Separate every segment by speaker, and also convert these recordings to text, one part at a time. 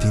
Speaker 1: Det är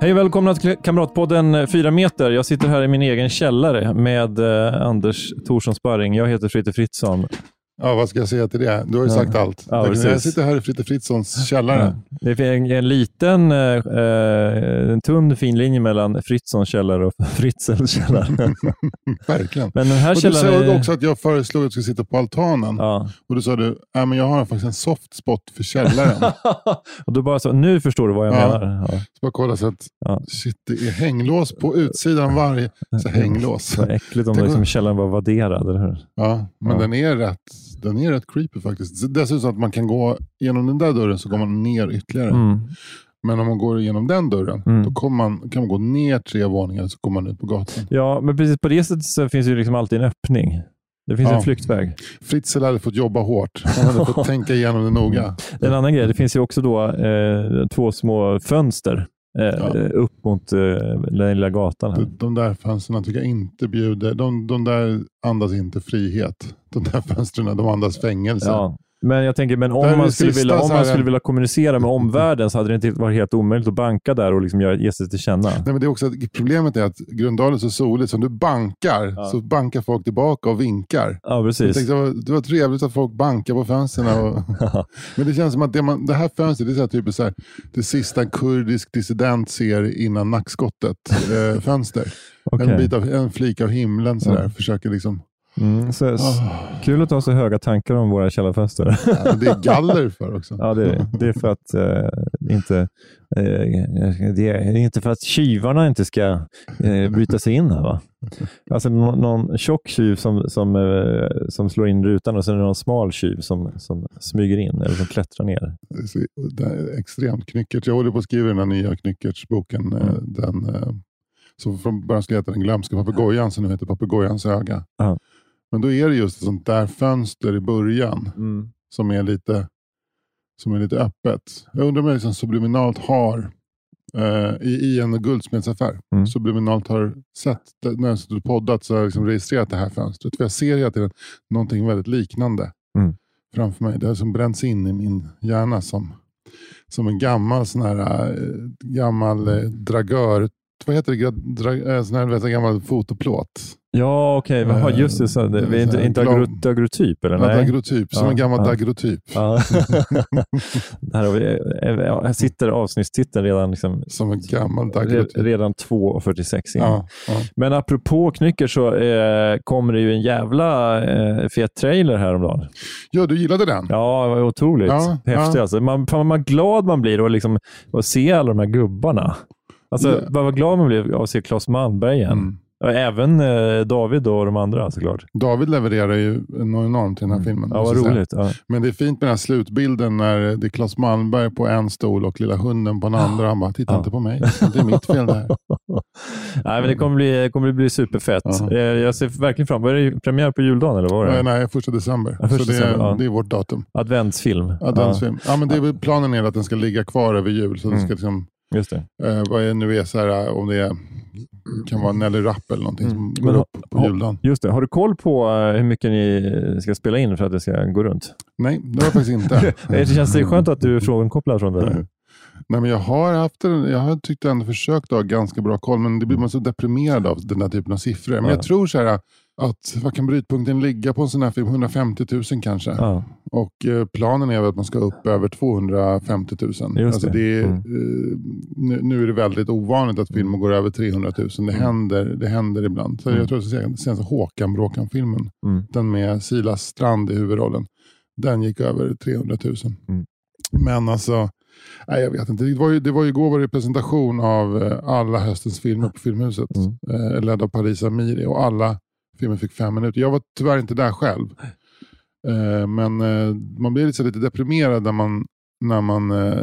Speaker 2: Hej och välkomna till Kamratpodden 4 meter. Jag sitter här i min egen källare med eh, Anders Thorsson Sparring. Jag heter Fritte Fritzson.
Speaker 3: Ja, vad ska jag säga till det? Du har ju
Speaker 2: Ja.
Speaker 3: sagt allt.
Speaker 2: Ja, precis.
Speaker 3: jag sitter här i Fritte Fritzons källare.
Speaker 2: Det är en, en liten, eh, eh, en tunn fin linje mellan Fritzons källare och Fritzels källare.
Speaker 3: Verkligen.
Speaker 2: Men den här
Speaker 3: Och du
Speaker 2: källaren
Speaker 3: sa
Speaker 2: är...
Speaker 3: också att jag föreslog att du skulle sitta på altanen.
Speaker 2: Ja.
Speaker 3: Och då sa du, "Nej, men jag har faktiskt en soft spot för källaren.
Speaker 2: och då bara så, nu förstår du vad jag
Speaker 3: Ja.
Speaker 2: menar. Ja.
Speaker 3: så bara kolla så att,
Speaker 2: Ja.
Speaker 3: shit, det är hänglås på utsidan av varje. Så hänglås.
Speaker 2: Vad äckligt om
Speaker 3: Tänk
Speaker 2: det
Speaker 3: om-
Speaker 2: som källaren var vadderad, eller hur?
Speaker 3: Ja, men
Speaker 2: Ja.
Speaker 3: Den, är rätt, den är rätt creepy faktiskt. Så Dessutom att man kan gå genom den där dörren så går man ner ytterligare.
Speaker 2: Mm.
Speaker 3: Men om man går genom den dörren,
Speaker 2: Mm.
Speaker 3: då kommer man, kan man gå ner tre våningar så kommer man ut på gatan.
Speaker 2: Ja, men precis på det sättet så finns ju liksom alltid en öppning. Det finns
Speaker 3: Ja.
Speaker 2: en flyktväg.
Speaker 3: Fritzl hade fått jobba hårt. Han hade fått tänka igenom det noga.
Speaker 2: En annan grej, det finns ju också då eh, två små fönster eh,
Speaker 3: Ja.
Speaker 2: upp mot eh, den lilla gatan. Här.
Speaker 3: De, de där fönstren tycker jag inte bjuder. De, de där andas inte frihet. De där fönstren, de andas fängelse.
Speaker 2: Ja. Men jag tänker, men
Speaker 3: Där
Speaker 2: om
Speaker 3: vi
Speaker 2: man,
Speaker 3: skulle
Speaker 2: skulle vilja,
Speaker 3: stå
Speaker 2: om
Speaker 3: så
Speaker 2: man
Speaker 3: här-
Speaker 2: skulle vilja kommunicera med omvärlden så hade det inte varit helt omöjligt att banka där och liksom göra, ge sig till känna.
Speaker 3: Nej, men det är också att problemet är att Gröndalen är så soligt. Så om du bankar
Speaker 2: Ja.
Speaker 3: så bankar folk tillbaka och vinkar.
Speaker 2: Ja,
Speaker 3: Jag
Speaker 2: precis.
Speaker 3: tänkte, det, var, det var trevligt att folk bankar på fönstren. Och, men det känns som att det, man, det här fönstret det är så här, typ så här, det sista en kurdisk dissident ser innan nackskottet-fönster. Eh, fönster. En,
Speaker 2: Okej.
Speaker 3: bit av, en flik av himlen så där, försöker liksom...
Speaker 2: Mm, så,
Speaker 3: Ah.
Speaker 2: s- Kul att ha så höga tankar om våra källarfönster.
Speaker 3: Ja, men det är galler för också.
Speaker 2: ja, det, är det. det är för att eh, inte eh, det är inte för att tjuvarna inte ska eh, bryta sig in här va? Alltså nå- någon tjock tjuv som, som, eh, som slår in rutan och sen är det någon smal tjuv som, som smyger in eller som klättrar ner.
Speaker 3: Det är så- Det är extremt knyckert. Jag håller på att skriva den här nya knyckertsboken. eh,
Speaker 2: Mm.
Speaker 3: Den, eh, som från början skulle heta Den glömska papegojan, som nu heter Papegojans öga.
Speaker 2: Ja.
Speaker 3: Men då är det just ett sånt där fönster i början
Speaker 2: Mm.
Speaker 3: som är lite, som är lite öppet. Jag undrar om jag liksom subliminalt har, eh, i, i en guldsmedsaffär,
Speaker 2: Mm.
Speaker 3: subliminalt har sett, det- när jag suttit och poddat, så har jag liksom registrerat det här fönstret. För jag ser hela tiden någonting väldigt liknande
Speaker 2: Mm.
Speaker 3: framför mig. Det här som bränns in i min hjärna som, som en gammal sån här, eh, gammal eh, dragör. Vad heter det? Gra- Dra, eh, sån här, du vet, en gammal fotoplåt.
Speaker 2: Ja, okej. Jaha, just det. Så, Eh, det, vi är inte, inte agro, agrotyp eller?
Speaker 3: Ja,
Speaker 2: Nej.
Speaker 3: dagrotyp. Som
Speaker 2: Ja,
Speaker 3: en gammal
Speaker 2: ja.
Speaker 3: dagrotyp.
Speaker 2: Ja. Här, har vi, eh, här sitter avsnittstiteln redan, liksom,
Speaker 3: Som en gammal
Speaker 2: re-
Speaker 3: dagrotyp.
Speaker 2: redan 2.46 in.
Speaker 3: Ja, ja.
Speaker 2: Men apropå knycker så eh, kommer det ju en jävla eh, fet trailer häromdagen.
Speaker 3: ja, du gillade den?
Speaker 2: Ja, det var otroligt
Speaker 3: Ja,
Speaker 2: häftig.
Speaker 3: ja.
Speaker 2: Alltså. Man, fan vad glad man blir att liksom, att se alla de här gubbarna. Alltså,
Speaker 3: Ja.
Speaker 2: Vad vad glad man blir av att se Claes Malmberg igen.
Speaker 3: Mm.
Speaker 2: Och Även eh, David och de andra såklart.
Speaker 3: David levererar ju något enormt i den här filmen.
Speaker 2: Mm. Ja, vad
Speaker 3: måste jag säga.
Speaker 2: roligt. Ja.
Speaker 3: Men det är fint med den här slutbilden när det är Claes Malmberg på en stol och lilla hunden på den andra. Han bara, titta
Speaker 2: Ja.
Speaker 3: inte på mig. Det är mitt fel det här.
Speaker 2: Nej, men det kommer bli, kommer bli superfett.
Speaker 3: Ja.
Speaker 2: Eh, Jag ser verkligen fram emot Var det premiär på juldagen eller vad var det?
Speaker 3: Nej, nej, första december.
Speaker 2: Ja, första
Speaker 3: så det är,
Speaker 2: december, ja.
Speaker 3: det är vårt datum.
Speaker 2: Adventsfilm.
Speaker 3: Adventsfilm. Ja. men det är väl planen är att den ska ligga kvar över jul. Så det
Speaker 2: Mm.
Speaker 3: ska liksom,
Speaker 2: Ja, just det.
Speaker 3: eh, vad är det nu är så här, eh, om det är, kan vara Nelly Rapp eller någonting som går
Speaker 2: Mm. Men ha-
Speaker 3: upp på
Speaker 2: ha-
Speaker 3: juldagen.
Speaker 2: Just det. Har du koll på eh, hur mycket ni eh, ska spela in för att det ska gå runt?
Speaker 3: Nej, det var jag faktiskt inte.
Speaker 2: Det känns det skönt att du är frågenkopplad från det där.
Speaker 3: Nej, men jag har haft en, jag har tyckt ändå försökt ha ganska bra koll, men det blir man så deprimerad av den här typen av siffror. Men
Speaker 2: Ja.
Speaker 3: jag tror så här, att vad kan brytpunkten ligga på en sån här film? 150 000 kanske.
Speaker 2: Ja.
Speaker 3: Och eh, planen är väl att man ska upp över 250 000.
Speaker 2: det.
Speaker 3: Alltså det är,
Speaker 2: Mm.
Speaker 3: eh, nu, nu är det väldigt ovanligt att filmer går över 300 000. Det händer, det händer ibland. Så
Speaker 2: Mm.
Speaker 3: Jag tror att den senaste Håkan-Bråkan-filmen,
Speaker 2: Mm.
Speaker 3: den med Silas Strand i huvudrollen, den gick över 300 000.
Speaker 2: Mm.
Speaker 3: Men alltså, nej, jag vet inte. Det var ju, det var ju igår var det presentation av eh, alla höstens filmer på Filmhuset.
Speaker 2: Mm.
Speaker 3: Eh, ledd av Paris Amiri och alla filmer fick fem minuter. Jag var tyvärr inte där själv. Eh, men eh, man blir liksom lite deprimerad när man, när man eh,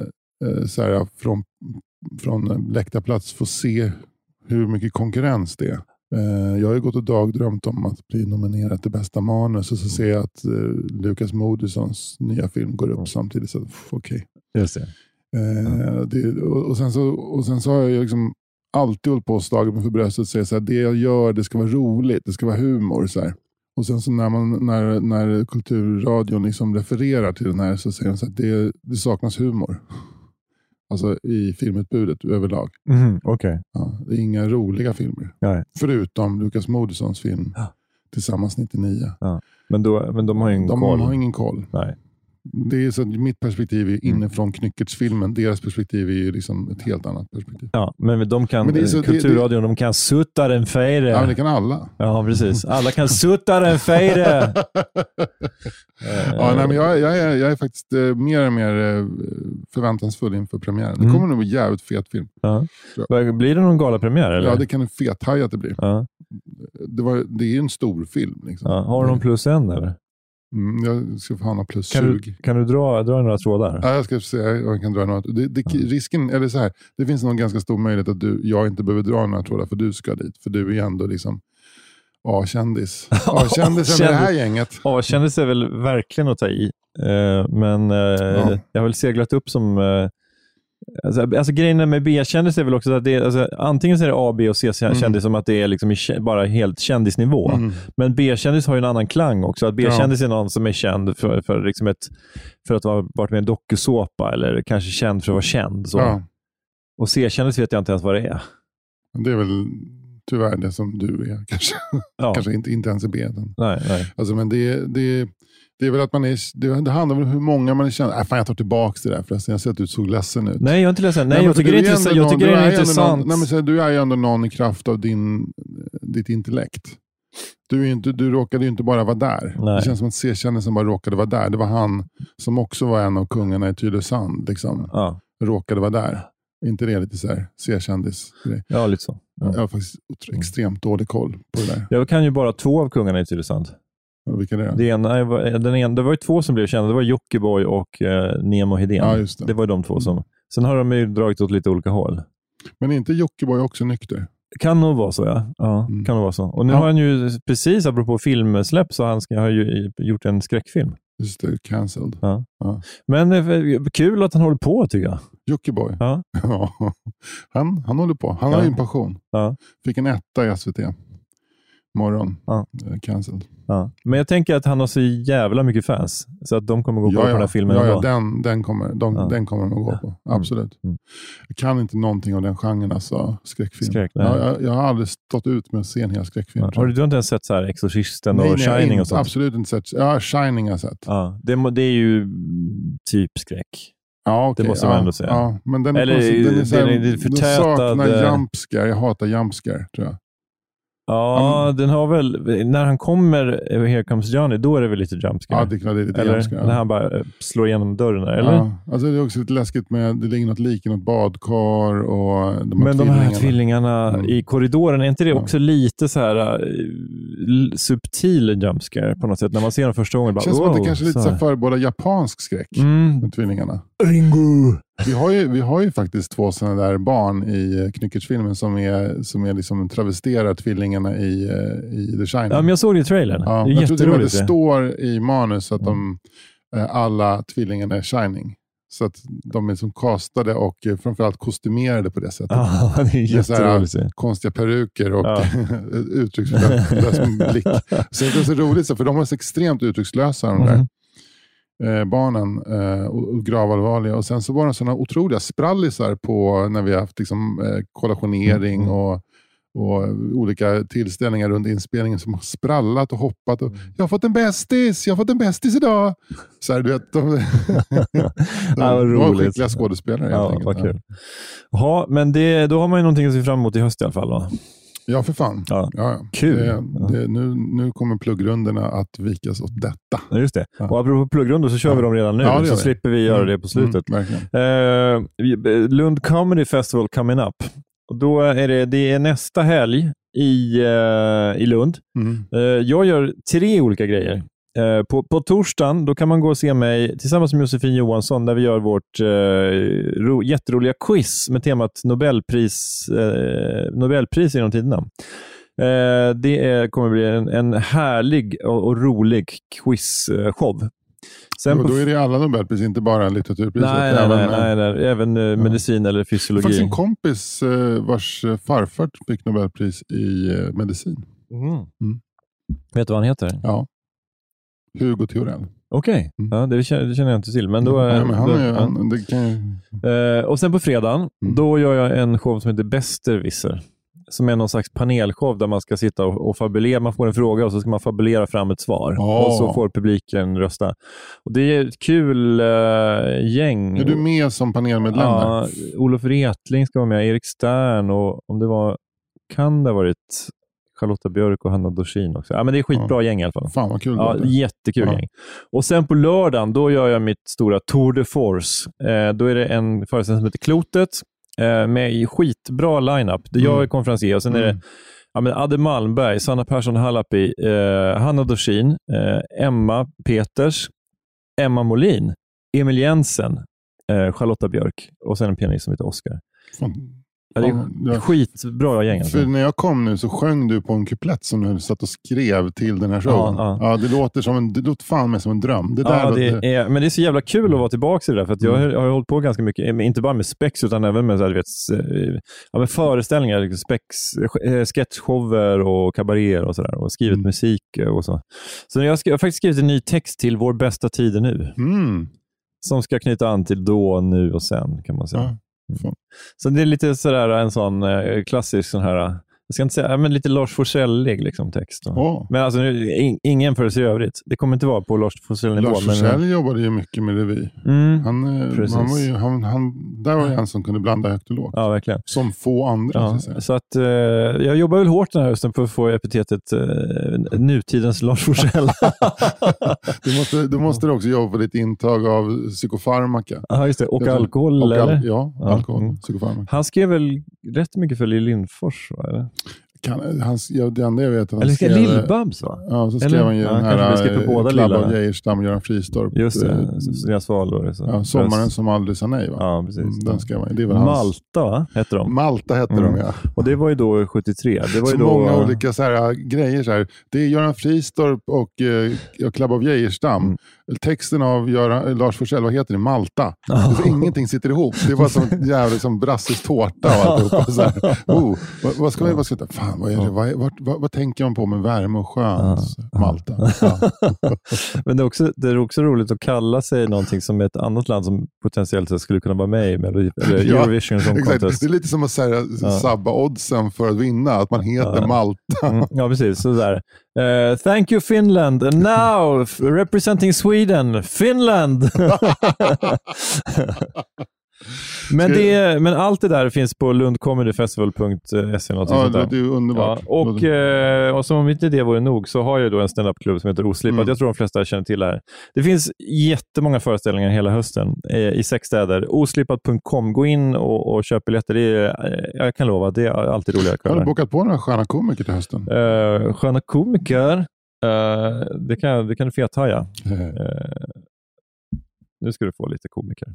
Speaker 3: eh, så här, från, från eh, läktarplats får se hur mycket konkurrens det är. Eh, Jag har ju gått och dagdrömt om att bli nominerad till bästa manus och så ser jag att eh, Lukas Moodyssons nya film går upp
Speaker 2: Mm.
Speaker 3: samtidigt. Så pff, okej.
Speaker 2: Just det.
Speaker 3: Eh, det, och, och, sen så, och sen så har jag ju liksom alltid hållit på och slagit mig för bröstet och säger så här, det jag gör det ska vara roligt, det ska vara humor. Så här. Och sen så när, man, när, när kulturradion liksom refererar till den här så säger de så här, det, det saknas humor. Alltså i filmutbudet överlag.
Speaker 2: Mhm, Okej.
Speaker 3: Ja, det är inga roliga filmer.
Speaker 2: Nej.
Speaker 3: Förutom Lukas Moodyssons film
Speaker 2: Ja.
Speaker 3: Tillsammans 99.
Speaker 2: Men, då, men de har ju ingen
Speaker 3: De
Speaker 2: koll.
Speaker 3: har ingen koll.
Speaker 2: Nej.
Speaker 3: Det är så, att mitt perspektiv är
Speaker 2: Mm.
Speaker 3: inifrån Knyckertsfilmen. Deras perspektiv är ju liksom ett helt annat perspektiv.
Speaker 2: Ja, men de kan,
Speaker 3: Men det är så- det-
Speaker 2: Kulturradion, de kan sutta den fejre.
Speaker 3: Ja, men
Speaker 2: Ja,
Speaker 3: det kan alla.
Speaker 2: precis. Alla kan sutta den fejre. eh,
Speaker 3: Ja, nej, men jag, jag, är, jag är faktiskt eh, mer och mer eh, förväntansfull inför premiären. Det
Speaker 2: Mm.
Speaker 3: kommer nog bli jävligt fet film.
Speaker 2: Eh, Ja. Vad- Blir det någon galapremiär? Eller?
Speaker 3: Ja, det kan en fethaja att det blir.
Speaker 2: Ja,
Speaker 3: Det, var, det är ju en stor film. Liksom.
Speaker 2: ja. Har du någon plus en? Eller?
Speaker 3: Mm, jag ska fan ha plus
Speaker 2: Kan
Speaker 3: 20.
Speaker 2: du, kan du dra, dra några trådar?
Speaker 3: Ja, jag ska se om jag kan dra något. Det, det, risken, eller så här, det finns nog en ganska stor möjlighet att du, jag inte behöver dra några trådar för du ska dit. För du är ändå liksom A-kändis. A-kändisen i det här gänget.
Speaker 2: A-kändis är väl verkligen att ta i. Eh, men eh,
Speaker 3: Ja.
Speaker 2: jag har väl seglat upp som... eh, alltså, alltså grejen med B-kändis är väl också att det är, alltså, antingen så är det A, B och C-kändis
Speaker 3: Mm.
Speaker 2: som att det är liksom i, kä- bara helt kändisnivå.
Speaker 3: Mm.
Speaker 2: Men B-kändis har ju en annan klang också. Att B-kändis är någon som är känd för, för, liksom ett, för att ha varit med i en dokusåpa eller kanske känd för att vara känd. Så.
Speaker 3: Ja,
Speaker 2: Och C-kändis vet jag inte ens vad det är.
Speaker 3: det är väl tyvärr det som du är. Kanske,
Speaker 2: Ja.
Speaker 3: kanske inte, inte ens i B. utan-
Speaker 2: Nej, nej.
Speaker 3: Alltså, men det, det, det är väl att man är, det, det handlar väl om hur många man är känd. Äh, fan, jag tar tillbaka det där förresten. Jag ser att du såg ledsen ut.
Speaker 2: nej, jag är inte ledsen. Nej,
Speaker 3: men
Speaker 2: jag
Speaker 3: för
Speaker 2: tycker
Speaker 3: du
Speaker 2: det är,
Speaker 3: ändå
Speaker 2: intressant. Jag
Speaker 3: någon-
Speaker 2: tycker
Speaker 3: du
Speaker 2: det är
Speaker 3: ändå
Speaker 2: intressant.
Speaker 3: Någon, nej, men så här, du är ju ändå någon i kraft av din, ditt intellekt. Du, är ju inte, du råkade ju inte bara vara där.
Speaker 2: Nej.
Speaker 3: Det känns som att C-kändisen bara råkade vara där. Det var han som också var en av kungarna i Tylösand. Liksom.
Speaker 2: ja.
Speaker 3: Råkade vara där. Är inte det lite så här C-kändis?
Speaker 2: ja, lite så. Ja.
Speaker 3: Jag har faktiskt otro- extremt dålig koll på det där.
Speaker 2: Jag kan ju bara två av kungarna i Tylösand.
Speaker 3: Vilka det är?
Speaker 2: Det, ena, var- den ena, det var ju två som blev kända. Det var Jockiboi och eh, Nemo Hedén.
Speaker 3: Ja, just det.
Speaker 2: det var ju de två som... Sen har de ju dragit åt lite olika håll.
Speaker 3: Men är inte Jockiboi också nykter?
Speaker 2: Kan nog vara så, ja. ja
Speaker 3: Mm.
Speaker 2: kan nog vara så. Och nu
Speaker 3: Ja.
Speaker 2: har han ju, precis apropå filmsläpp, så han ska, har ju i- gjort en skräckfilm.
Speaker 3: Just det, cancelled.
Speaker 2: Men eh, kul att han håller på, tycker jag.
Speaker 3: Jockiboi.
Speaker 2: Ja.
Speaker 3: Ja. Han, han håller på. Han har
Speaker 2: Ja.
Speaker 3: ju en passion.
Speaker 2: Ja.
Speaker 3: Fick en etta i SVT. Morgon.
Speaker 2: Ja.
Speaker 3: Eh, Cancelled.
Speaker 2: Ja. Men jag tänker att han har så jävla mycket fans, så att de kommer gå och kolla på den här filmen
Speaker 3: ja, ja,
Speaker 2: ändå.
Speaker 3: den, den kommer de,
Speaker 2: Ja.
Speaker 3: den kommer de att gå på. Absolut.
Speaker 2: Mm.
Speaker 3: Jag kan inte någonting av den genren, alltså skräckfilm.
Speaker 2: Skräck, nej.
Speaker 3: jag, jag, jag har aldrig stått ut med att se en hel skräckfilm.
Speaker 2: Ja. Har du, du har inte ens sett så här Exorcisten
Speaker 3: Nej,
Speaker 2: och
Speaker 3: nej, jag har
Speaker 2: Shining
Speaker 3: inte-
Speaker 2: och sånt?
Speaker 3: Absolut inte sett. Ja, Shining har jag sett.
Speaker 2: Ja, det, må- det är ju mm, typ skräck.
Speaker 3: Ja, okej,
Speaker 2: Det måste man
Speaker 3: ja,
Speaker 2: ändå säga.
Speaker 3: Ja, men den är
Speaker 2: Eller
Speaker 3: konstig. den
Speaker 2: det-
Speaker 3: är, så här,
Speaker 2: det är- det är
Speaker 3: den
Speaker 2: förtätad,
Speaker 3: saknar
Speaker 2: eh,
Speaker 3: jumpscare. Jag hatar jumpscare, tror jag.
Speaker 2: Ja, den har väl... När han kommer, eh, Here comes Johnny, då är det väl lite jumpscare?
Speaker 3: Ja, det är klart det är lite
Speaker 2: eller
Speaker 3: jumpscare.
Speaker 2: när
Speaker 3: ja.
Speaker 2: han bara eh, slår igenom dörren där, eller?
Speaker 3: Ja, alltså det är också lite läskigt med, det ligger något lik i något badkar och de här
Speaker 2: Men de här
Speaker 3: tvillingarna.
Speaker 2: tvillingarna
Speaker 3: Mm.
Speaker 2: i korridoren, är inte det
Speaker 3: Ja.
Speaker 2: också lite så här eh, l- subtil jumpscare på något sätt? När man ser dem första gången, bara
Speaker 3: Det känns som att det
Speaker 2: wow,
Speaker 3: kanske lite så här förebådar japansk skräck.
Speaker 2: Mm.
Speaker 3: Med tvillingarna.
Speaker 2: Ringo!
Speaker 3: Vi har, ju, vi har ju faktiskt två sådana där barn i eh, Knyckertsfilmen som, är, som är liksom travesterar tvillingarna i, eh, i The Shining.
Speaker 2: Ja, men jag såg det i trailern.
Speaker 3: Ja,
Speaker 2: det är
Speaker 3: jag tror till och
Speaker 2: jätteroligt.
Speaker 3: med det
Speaker 2: det. Mm.
Speaker 3: står i manus att de, eh, alla tvillingarna är Shining. Så att de är som castade och eh, framförallt kostymerade på det sättet.
Speaker 2: Ja, det är
Speaker 3: Det är så här,
Speaker 2: jätteroligt. det.
Speaker 3: konstiga peruker och
Speaker 2: Ja.
Speaker 3: uttryckslös blick. Så det är så roligt, så, för de var så extremt uttryckslösa de där
Speaker 2: Mhm.
Speaker 3: eh, barnen eh, och, och gravallvarliga. Och sen så
Speaker 2: Mm.
Speaker 3: var de sådana otroliga sprallisar på när vi har haft liksom, eh, kollationering och, och olika tillställningar runt inspelningen som har sprallat och hoppat.
Speaker 2: Mm.
Speaker 3: Och, jag har fått en bästis! Jag har fått en bästis idag! Så här, du vet, de,
Speaker 2: Ja, vad
Speaker 3: de var
Speaker 2: roligt.
Speaker 3: skickliga skådespelare helt
Speaker 2: Ja,
Speaker 3: enkelt.
Speaker 2: vad kul. Ja, men det, då har man ju någonting att se fram emot i höst i alla fall. Då.
Speaker 3: Ja, för fan.
Speaker 2: Ja.
Speaker 3: Ja, ja.
Speaker 2: Kul.
Speaker 3: Det, Eh, det, nu, nu kommer pluggrunderna att vikas åt detta.
Speaker 2: Ja, Just det.
Speaker 3: Ja.
Speaker 2: Och apropå pluggrundor så kör vi dem redan nu,
Speaker 3: Ja, det
Speaker 2: så
Speaker 3: gör vi.
Speaker 2: slipper vi göra det på slutet.
Speaker 3: Mm, verkligen.
Speaker 2: Eh, Lund Comedy Festival coming up. Och då är det, det är nästa helg i, eh, i Lund.
Speaker 3: Mm.
Speaker 2: Eh, jag gör tre olika grejer. Eh, på, på torsdagen då kan man gå och se mig tillsammans med Josefin Johansson där vi gör vårt eh, ro, jätteroliga quiz med temat Nobelpris, eh, Nobelpris genom tiderna. Eh, det är, kommer bli en, en härlig och, och rolig quizshow. Sen
Speaker 3: Och
Speaker 2: på
Speaker 3: då är det alla Nobelpris, inte bara litteraturpriset.
Speaker 2: Nej, nej,
Speaker 3: även,
Speaker 2: nej,
Speaker 3: eh,
Speaker 2: nej, nej. Även eh, medicin eller
Speaker 3: Det var faktiskt
Speaker 2: fysiologi.
Speaker 3: en kompis eh, vars eh, farfar fick Nobelpris i eh, medicin.
Speaker 2: Mm.
Speaker 3: Mm.
Speaker 2: Vet du vad han heter?
Speaker 3: Ja. Hugo Theorell.
Speaker 2: Okej,
Speaker 3: Mm.
Speaker 2: ja, det, känner, det känner jag inte till. Men då, eh,
Speaker 3: ja, Mm. men han
Speaker 2: då,
Speaker 3: är, ju-
Speaker 2: ja.
Speaker 3: han, det kan ju,
Speaker 2: Eh, och sen på fredagen,
Speaker 3: Mm.
Speaker 2: då gör jag en show som heter Besserwisser. Som är någon slags panelshow där man ska sitta och, och fabulera. Man får en fråga och så ska man fabulera fram ett svar.
Speaker 3: Ja.
Speaker 2: Och så får publiken rösta. Och det är ett kul eh, gäng.
Speaker 3: är du med som panelmedlem?
Speaker 2: Ja,
Speaker 3: Ja.
Speaker 2: Olof Retling ska vara med, Erik Stern och om det var, kan det ha varit Charlotta Björk och Hanna Dorsin också. Ja, men det är skitbra gäng i alla fall.
Speaker 3: Fan vad kul
Speaker 2: Ja,
Speaker 3: det låter.
Speaker 2: jättekul
Speaker 3: Ja.
Speaker 2: gäng. Och sen på lördagen, då gör jag mitt stora Tour de Force. Eh, då är det en föreställning som heter Klotet eh, med i skitbra lineup. Det är jag är
Speaker 3: Mm.
Speaker 2: konferencier och sen är det
Speaker 3: Mm.
Speaker 2: ja, men Adde Malmberg, Sanna Persson Hallapi, eh, Hanna Dorsin, eh, Emma Peters, Emma Molin, Emil Jensen, eh, Charlotta Björk och sen en pianist som heter Oscar.
Speaker 3: Fan.
Speaker 2: Ja, det är
Speaker 3: Fan, ja.
Speaker 2: skitbra gäng alltså.
Speaker 3: För när jag kom nu så sjöng du på en kuplett som du satt och skrev till den här showen.
Speaker 2: Ja,
Speaker 3: Ja, det, låter som en, det låter fan med som en dröm. Det där
Speaker 2: Ja,
Speaker 3: låter, Mm.
Speaker 2: det är, men det är så jävla kul att vara tillbaka i det där, för att jag har, har ju hållit på ganska mycket, men inte bara med spex, utan även med, så här, du vet, s- eh, ja, med föreställningar, liksom spex, eh, sketchshower och kabaréer och sådär, och skrivit
Speaker 3: Mm.
Speaker 2: musik eh, och så. Så jag, har skri- jag har faktiskt skrivit en ny text till Vår bästa tid är nu,
Speaker 3: Mm.
Speaker 2: som ska knyta an till då, nu och sen, kan man säga. Mm.
Speaker 3: Ja, fan.
Speaker 2: Så det är lite sådär en sån eh, klassisk sån här, eh, jag ska inte säga, ja, men lite Lars Forssellig liksom, text. Och,
Speaker 3: Åh.
Speaker 2: Men alltså, nu, in, ingen för sig i övrigt. Det kommer inte vara på Lars Forsell-nivå.
Speaker 3: Lars
Speaker 2: men-
Speaker 3: Forssell jobbade ju mycket med revy.
Speaker 2: Mm.
Speaker 3: Han, eh,
Speaker 2: Precis.
Speaker 3: han var ju, han, han, där var ju en som kunde blanda högt och lågt.
Speaker 2: Ja, verkligen.
Speaker 3: Som få andra.
Speaker 2: Ja,
Speaker 3: Så att säga.
Speaker 2: så att, eh, jag jobbar väl hårt den här hösten för att få epitetet eh, nutidens Lars Forssell.
Speaker 3: Du måste, du måste också jobba på ditt intag av psykofarmaka.
Speaker 2: ja, just det. Och
Speaker 3: Jag tror-
Speaker 2: alkohol,
Speaker 3: Och al-
Speaker 2: eller?
Speaker 3: Ja,
Speaker 2: Ja,
Speaker 3: alkohol.
Speaker 2: mm.
Speaker 3: Psykofarmaka.
Speaker 2: Han skrev väl rätt mycket för Lill Lindfors? Va? Eller,
Speaker 3: Kan, han, ja, det enda jag vet är att han
Speaker 2: eller skrev
Speaker 3: skrev...
Speaker 2: Lill-Babs? va?
Speaker 3: Ja, så skrev
Speaker 2: Eller?
Speaker 3: han ju
Speaker 2: Ja,
Speaker 3: den
Speaker 2: kanske vi
Speaker 3: här
Speaker 2: skrev på
Speaker 3: eh,
Speaker 2: båda
Speaker 3: Club
Speaker 2: lillarna.
Speaker 3: of Geijerstam och Göran Fristorp.
Speaker 2: Just
Speaker 3: eh,
Speaker 2: det, deras valår. Så.
Speaker 3: Ja, sommaren som aldrig sa nej. Va?
Speaker 2: Ja, precis.
Speaker 3: Mm, Den skrev han ju. Det är väl hans...
Speaker 2: Malta va? hette de.
Speaker 3: Malta hette
Speaker 2: Mm.
Speaker 3: de ja.
Speaker 2: Och det var ju då 73. Det var
Speaker 3: Så
Speaker 2: ju då, eh,
Speaker 3: många olika så här, äh, grejer. Så här. Det är Göran Fristorp och, eh, och Club of Geijerstam.
Speaker 2: Mm.
Speaker 3: Texten av Göran, eh, Lars Forssell, vad heter det? Malta. Alltså, ingenting sitter ihop. Det var som en jävla liksom, brasses tårta och alltihopa. Så här. Oh, vad, vad ska man vad ska, man- fan, vad, är det, vad, är- vart- vad, vad tänker man på med värme och skönt? Malta. Ja.
Speaker 2: Men det är, också, det är också roligt att kalla sig någonting som ett annat land som potentiellt sett skulle kunna vara med i Melodi- eller
Speaker 3: Ja,
Speaker 2: Eurovision Song
Speaker 3: Exakt.
Speaker 2: Contest.
Speaker 3: Det är lite som att så här, sabba oddsen för att vinna. Att man heter Malta.
Speaker 2: Mm, ja, precis. Sådär. Eh, thank you Finland. And now f- representing Sweden, Finland! men, det, men allt det där finns på lundcomedyfestival.se. någonting
Speaker 3: Ja,
Speaker 2: sånt
Speaker 3: det
Speaker 2: där.
Speaker 3: låter ju
Speaker 2: Ja,
Speaker 3: underbart.
Speaker 2: och, eh, och som om inte det vore nog så har jag då en standupklubb som heter Oslipat.
Speaker 3: Mm.
Speaker 2: Jag tror de flesta känner till det här. Det finns jättemånga föreställningar hela hösten eh, i sex städer. Oslipat.com. Gå in och, och köp biljetter. Det är, eh, jag kan lova, det är alltid roliga
Speaker 3: har du
Speaker 2: kvällar.
Speaker 3: bokat på några sköna komiker till hösten?
Speaker 2: Eh, sköna komiker. Eh, det, kan, det kan du fethaja.
Speaker 3: Eh,
Speaker 2: Eh, nu ska du få lite komiker.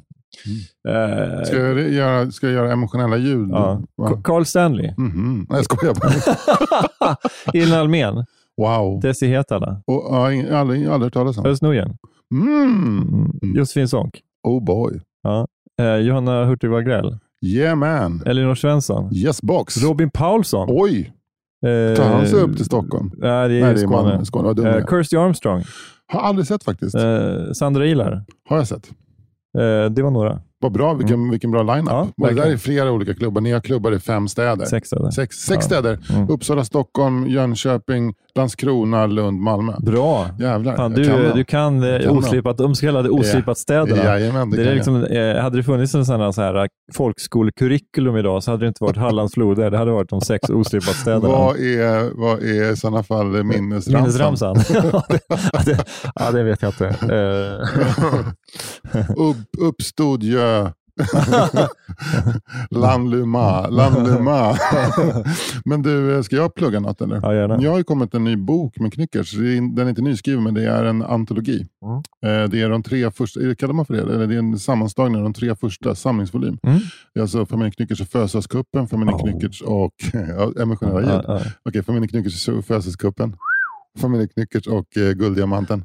Speaker 2: Eh,
Speaker 3: Ska jag göra, ska jag göra emotionella ljud?
Speaker 2: ja.
Speaker 3: Va?
Speaker 2: Carl Stanley,
Speaker 3: Mhm. Nej, jag skojar bara.
Speaker 2: Elin Almen,
Speaker 3: Wow.
Speaker 2: Desi Hetala,
Speaker 3: Och, ja, ing- aldrig, aldrig hört talas om.
Speaker 2: Özz Nujen, Eh.
Speaker 3: Mm.
Speaker 2: mm. Josefin Sonck.
Speaker 3: Oh boy.
Speaker 2: Eh, Johanna Hurtig Wagrell,
Speaker 3: Yeah man.
Speaker 2: Elinor Svensson,
Speaker 3: Yes box.
Speaker 2: Robin Paulsson.
Speaker 3: Oj,
Speaker 2: Eh,
Speaker 3: tar han sig upp till Stockholm?
Speaker 2: Nej, det är i
Speaker 3: Nej, det är
Speaker 2: Skåne.
Speaker 3: Malmö. Skåne. Vad dum jag
Speaker 2: Eh,
Speaker 3: är.
Speaker 2: Kirsty Armstrong,
Speaker 3: Har aldrig sett faktiskt.
Speaker 2: eh, Sandra Ilar.
Speaker 3: Har jag sett.
Speaker 2: Eh, det var några.
Speaker 3: Vad bra, vilken, vilken bra line-up.
Speaker 2: Ja,
Speaker 3: och det där
Speaker 2: verkligen.
Speaker 3: är flera olika klubbar. Ni har klubbar i fem städer.
Speaker 2: Sex eller?
Speaker 3: Sex, sex städer.
Speaker 2: Mm.
Speaker 3: Uppsala, Stockholm, Jönköping, Landskrona, Lund, Malmö.
Speaker 2: Bra!
Speaker 3: Jävlar,
Speaker 2: Fan,
Speaker 3: jag
Speaker 2: du,
Speaker 3: dem.
Speaker 2: du kan, eh,
Speaker 3: Jag kan dem.
Speaker 2: oslipat, de så kallade oslipat städerna.
Speaker 3: Jajamän, det,
Speaker 2: Det
Speaker 3: kan
Speaker 2: är
Speaker 3: jag.
Speaker 2: liksom, eh, hade det funnits en sån här, så här folkskolkurrikulum idag så hade det inte varit Hallands floder. Det hade varit de sex oslipat städerna.
Speaker 3: Vad är, vad är i sådana fall minnesramsan?
Speaker 2: Minnesramsan? ja, det, ja, det, ja, det vet jag inte. Eh,
Speaker 3: Upp, uppstod ju Landluma. Landluma. men du, ska jag plugga något eller?
Speaker 2: ja, gärna.
Speaker 3: Jag har ju kommit en ny bok med Knyckers. Det är- Den är inte nyskriven, men det är en antologi.
Speaker 2: Mm.
Speaker 3: Eh, Det är de tre första, är det- kallar man för det? Eller det är en sammanslagning av de tre första, samlingsvolym.
Speaker 2: Mm.
Speaker 3: Det är alltså Familjen Knyckers och Fösaskuppen, Familjen
Speaker 2: Oh.
Speaker 3: Knyckers och ja, emotionella ljud.
Speaker 2: Ja, ja.
Speaker 3: Okej, Familjen Knyckers och Fösaskuppen, Familjen Knyckers och eh, Gulddiamanten.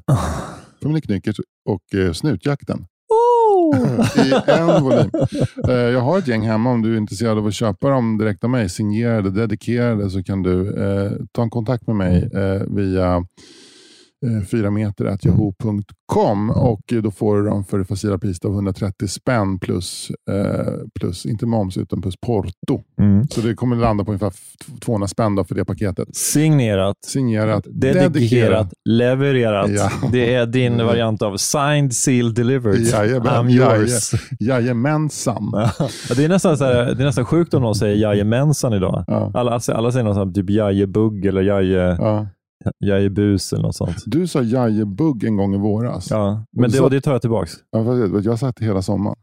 Speaker 3: Familjen Knyckers och eh, Snutjakten. Oh! I en volym. Eh, jag har ett gäng hemma om du är intresserad av att köpa dem direkt av mig, signerade, dedikerade, så kan du eh, ta en kontakt med mig eh, via eh, 4meter.yahoo.com och eh, då får du dem för det facila priset av 130 spänn plus, eh, plus, inte moms, utan plus porto.
Speaker 2: Mm.
Speaker 3: Så det kommer landa på ungefär f- 200 spänn då för det paketet.
Speaker 2: Signerat,
Speaker 3: Signerat,
Speaker 2: dedikerat, levererat.
Speaker 3: Ja. Mm.
Speaker 2: Det är din variant av signed, sealed, delivered.
Speaker 3: Jajamän,
Speaker 2: I'm yours.
Speaker 3: Jajamensan.
Speaker 2: Ja, det, är nästan så här, det är nästan sjukt om någon säger jajamensan idag.
Speaker 3: Ja.
Speaker 2: Alla, alla säger något sånt, typ jajebugg eller jaje,
Speaker 3: Ja.
Speaker 2: jajebus eller något sånt.
Speaker 3: Du sa jajebugg en gång i våras.
Speaker 2: Ja, men det, och det tar jag tillbaka.
Speaker 3: Ja, fast Jag vet, jag satt hela sommaren.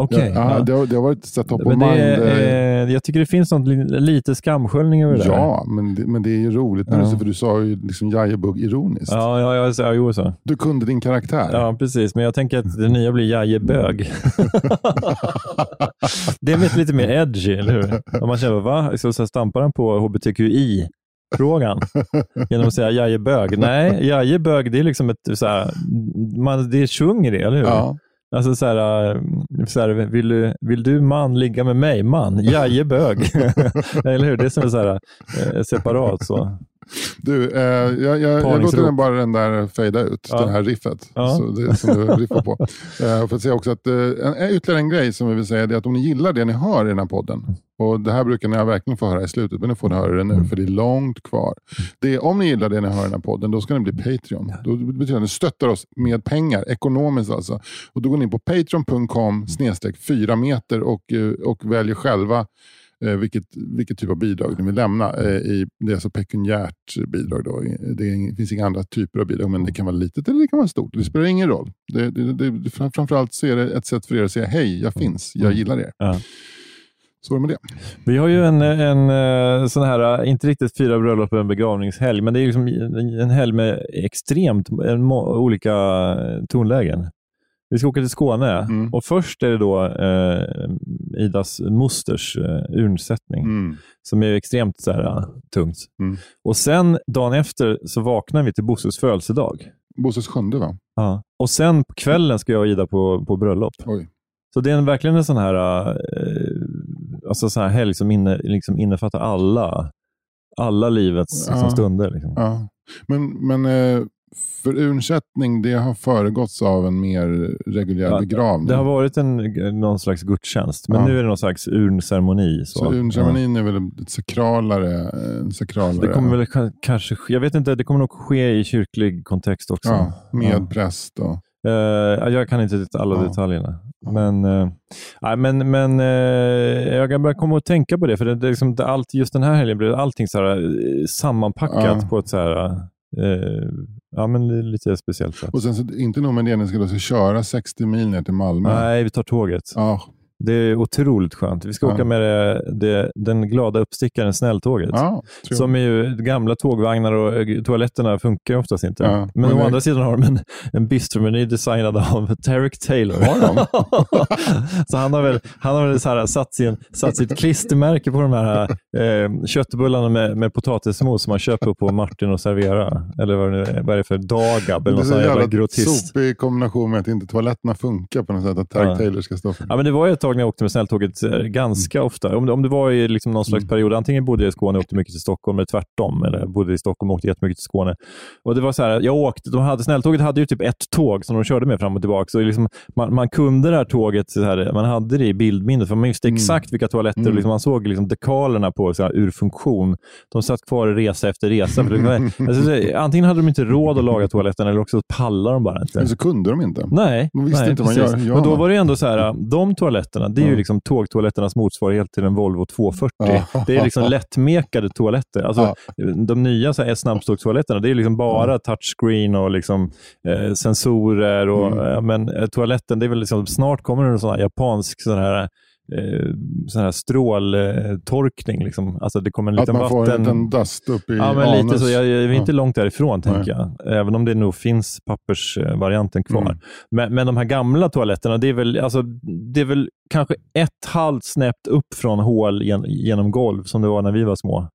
Speaker 2: Okej.
Speaker 3: ja,
Speaker 2: ja.
Speaker 3: det, har, det har varit så här top of
Speaker 2: Men det,
Speaker 3: mind. eh,
Speaker 2: är- eh, jag tycker det finns något, li- lite skamsköljning över det där.
Speaker 3: ja, men det, men det är ju roligt när
Speaker 2: Ja.
Speaker 3: du säger- för du sa ju liksom jajebugg ironiskt.
Speaker 2: Ja, ja, ja, så- ja, jo, så.
Speaker 3: Du kunde din karaktär.
Speaker 2: ja, precis. Men jag tänker att det nya blir jajebög. det är lite mer edgy, eller hur? Om man känner, va? Så, så här stampar han på hbtqi-frågan genom att säga jajebög? Nej, jajebög, det är liksom ett... Så här, man, det är tjung i det, eller hur?
Speaker 3: Ja.
Speaker 2: Alltså så här, äh, så här vill, du, vill du man ligga med mig? Man, jajebög. Eller hur? Det är som så här, äh, separat. Så.
Speaker 3: Du, eh, jag, jag, jag låter
Speaker 2: Parningsrop.
Speaker 3: den bara den där fejda ut,
Speaker 2: Ja.
Speaker 3: det här riffet
Speaker 2: Ja.
Speaker 3: så det, som du riffar på. Eh, för att säga också att, eh, en, ytterligare en grej som vi vill säga det är att om ni gillar det ni hör i den här podden, och det här brukar ni verkligen få höra i slutet, men nu får ni höra det nu,
Speaker 2: Mm.
Speaker 3: för det är långt kvar. Det är, om ni gillar det ni hör i den här podden, då ska ni bli Patreon. Då betyder det att ni stöttar oss med pengar, ekonomiskt alltså. Och då går ni in på patreon.com snedstreck 4 meter och, eh, och väljer själva eh, vilket, vilket typ av bidrag ni vill lämna. Eh, i, det är alltså pekuniärt bidrag. Då. Det, är, det finns inga andra typer av bidrag, men det kan vara litet eller det kan vara stort. Det spelar ingen roll. Det, det, det, det, fram- framförallt så är det ett sätt för er att säga hej, jag finns, jag gillar er.
Speaker 2: Mm. Ja.
Speaker 3: Så är det med det.
Speaker 2: Vi har ju en, en äh, sån här, äh, inte riktigt fyra bröllop och en begravningshelg, men det är liksom en- en helg med extremt en, må- olika äh, tonlägen. Vi ska åka till Skåne
Speaker 3: Mm.
Speaker 2: och först är det då eh, Idas mosters eh, urnsättning.
Speaker 3: Mm.
Speaker 2: som är extremt så här, äh, tungt.
Speaker 3: Mm.
Speaker 2: Och sen dagen efter så vaknar vi till Bosses födelsedag.
Speaker 3: Bosses sjunde va?
Speaker 2: Och sen på kvällen ska jag och Ida på, på bröllop.
Speaker 3: Oj.
Speaker 2: Så det är en, verkligen en sån här, eh, alltså sån här helg som inne, liksom innefattar alla, alla livets liksom,
Speaker 3: Ja.
Speaker 2: stunder. Liksom.
Speaker 3: Ja. Men, men eh, för urnsättning, det har föregåtts av en mer reguljär
Speaker 2: Ja,
Speaker 3: begravning.
Speaker 2: Det har varit en, någon slags gudstjänst, men
Speaker 3: Ja.
Speaker 2: nu är det någon slags urnceremoni. Så.
Speaker 3: så urnceremonin är väl ett sakralare... En
Speaker 2: Ja.
Speaker 3: sakralare
Speaker 2: Det kommer väl ka- kanske, ske- jag vet inte, det kommer nog ske i kyrklig kontext också.
Speaker 3: ja, med
Speaker 2: Ja.
Speaker 3: präst och...
Speaker 2: Eh, jag kan inte det- alla
Speaker 3: Ja.
Speaker 2: detaljerna. Men, eh, nej, men, men eh, jag kan börja komma att tänka på det. För det, det, är liksom, det, allt, just den här helgen blev allting så här, eh, sammanpackat
Speaker 3: Ja.
Speaker 2: på ett så här, eh, ja, men li- lite speciellt sätt.
Speaker 3: Och sen så, inte nog med det, ni ska då köra 60 mil ner till Malmö.
Speaker 2: Nej, vi tar tåget.
Speaker 3: Ja,
Speaker 2: Det är otroligt skönt. Vi ska
Speaker 3: Ja.
Speaker 2: åka med det, det, den glada uppstickaren snälltåget.
Speaker 3: ja, trevligt.
Speaker 2: Som är ju gamla tågvagnar och eh, toaletterna funkar ju oftast inte.
Speaker 3: Ja,
Speaker 2: men,
Speaker 3: men
Speaker 2: å
Speaker 3: det-
Speaker 2: andra sidan har de en, en bistromeny designad av Tarek Taylor.
Speaker 3: Har de?
Speaker 2: så han har väl, han har väl så här satt, sin, satt sitt klistermärke på de här eh, köttbullarna med, med potatismos som man köper på Martin och Servera. Eller vad det nu är, vad är det för Dagab eller
Speaker 3: det är
Speaker 2: något
Speaker 3: så
Speaker 2: sånt jävla
Speaker 3: jävla
Speaker 2: grottist.
Speaker 3: sopig kombination med att inte toaletterna funkar på något sätt. Att Tarek
Speaker 2: Ja.
Speaker 3: Taylor ska stå för
Speaker 2: Ja, men det var ju ett tag Stockholm. Jag åkte med snälltåget eh, ganska ofta. Om, det- om det var i liksom någon slags
Speaker 3: Mm.
Speaker 2: period, antingen bodde jag i Skåne och åkte mycket till Stockholm, eller tvärtom. Eller bodde i Stockholm och åkte jättemycket till Skåne. Och det var så här, jag åkte, de hade, snälltåget hade ju typ ett tåg som de körde med fram och tillbaka. Så liksom, man, man kunde det här tåget, så här, man hade det i bildminnet, för man visste
Speaker 3: Mm.
Speaker 2: exakt vilka toaletter, och
Speaker 3: Mm.
Speaker 2: liksom, man såg liksom dekalerna på så här, ur funktion. De satt kvar i resa efter resa. För det var, alltså, så- antingen hade de inte råd att laga toaletten, eller också pallade de bara inte.
Speaker 3: Men så kunde de inte.
Speaker 2: Nej,
Speaker 3: liksom. De visste
Speaker 2: nej,
Speaker 3: inte vad man
Speaker 2: precis.
Speaker 3: gör- gör
Speaker 2: Men då
Speaker 3: man.
Speaker 2: var det ju ändå så här, äh, de toaletterna, det är ju
Speaker 3: Ja.
Speaker 2: liksom tågtoaletternas motsvarighet till en Volvo 240.
Speaker 3: Ja.
Speaker 2: Det är liksom lättmekade toaletter. Alltså, De nya så här, snabbstågstoaletterna, det är liksom bara touchscreen och liksom, eh, sensorer. Och,
Speaker 3: Mm.
Speaker 2: eh, men eh, toaletten, det är väl liksom, snart kommer det en sån här japansk sån här, eh, sån här stråltorkning. Liksom. Alltså, det kommer en
Speaker 3: Att
Speaker 2: liten
Speaker 3: man får en
Speaker 2: vatten...
Speaker 3: liten dust upp i
Speaker 2: Ja, men
Speaker 3: anus.
Speaker 2: lite så. Jag, jag är inte långt därifrån,
Speaker 3: Nej.
Speaker 2: tänker jag. Även om det nog finns pappersvarianten kvar.
Speaker 3: Mm.
Speaker 2: Men, men de här gamla toaletterna, det är väl, alltså, det är väl kanske ett halvt snäppt upp från hål gen, genom golv, som det var när vi var små.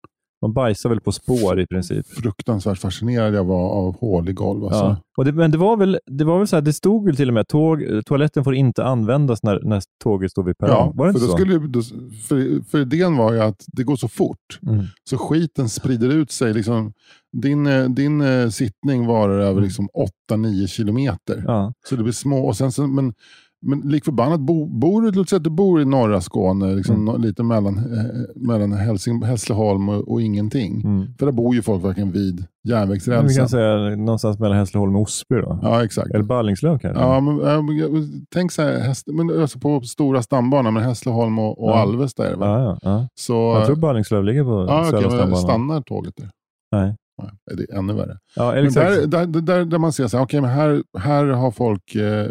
Speaker 2: Man bajsar väl på spår i princip.
Speaker 3: Fruktansvärt fascinerad jag var av hål i golv. Alltså.
Speaker 2: Ja. Och det, men det var väl, det var väl så här, det stod väl till och med tåg, toaletten får inte användas när, när tåget står vid perrong. var det inte
Speaker 3: för, då
Speaker 2: så?
Speaker 3: skulle, ju- då, för, för idén var ju att det går så fort,
Speaker 2: Mm.
Speaker 3: så skiten sprider ut sig. Liksom, din, eh, din eh, sittning varar
Speaker 2: Mm.
Speaker 3: över liksom 8-9 kilometer.
Speaker 2: Ja.
Speaker 3: Så det blir små. Och sen, så, men, men lik förbannat, bo, bor du, låt säga att du bor i norra Skåne, liksom,
Speaker 2: Mm.
Speaker 3: nå- lite mellan, eh, mellan Hälsing, Hässleholm och, och ingenting.
Speaker 2: Mm.
Speaker 3: För där bor ju folk verkligen vid
Speaker 2: Vi
Speaker 3: järnvägsrälsen.
Speaker 2: kan säga någonstans mellan Hässleholm och Osby. Då.
Speaker 3: Ja, exakt.
Speaker 2: Eller Ballingslöv kanske?
Speaker 3: Ja, men, ja, men jag- tänk så här, häst, men, alltså på stora stambanan, men Hässleholm och, och
Speaker 2: Ja.
Speaker 3: Alvesta är det väl?
Speaker 2: ja, ja, ja.
Speaker 3: Så,
Speaker 2: Jag tror Ballingslöv ligger på
Speaker 3: ja,
Speaker 2: Södra
Speaker 3: okej, men
Speaker 2: stambanan.
Speaker 3: stannar tåget där?
Speaker 2: Nej.
Speaker 3: Nej, det är ännu värre.
Speaker 2: Ja,
Speaker 3: Men
Speaker 2: exakt.
Speaker 3: där, där, där, där man ser så här, okej, men här, här har folk eh,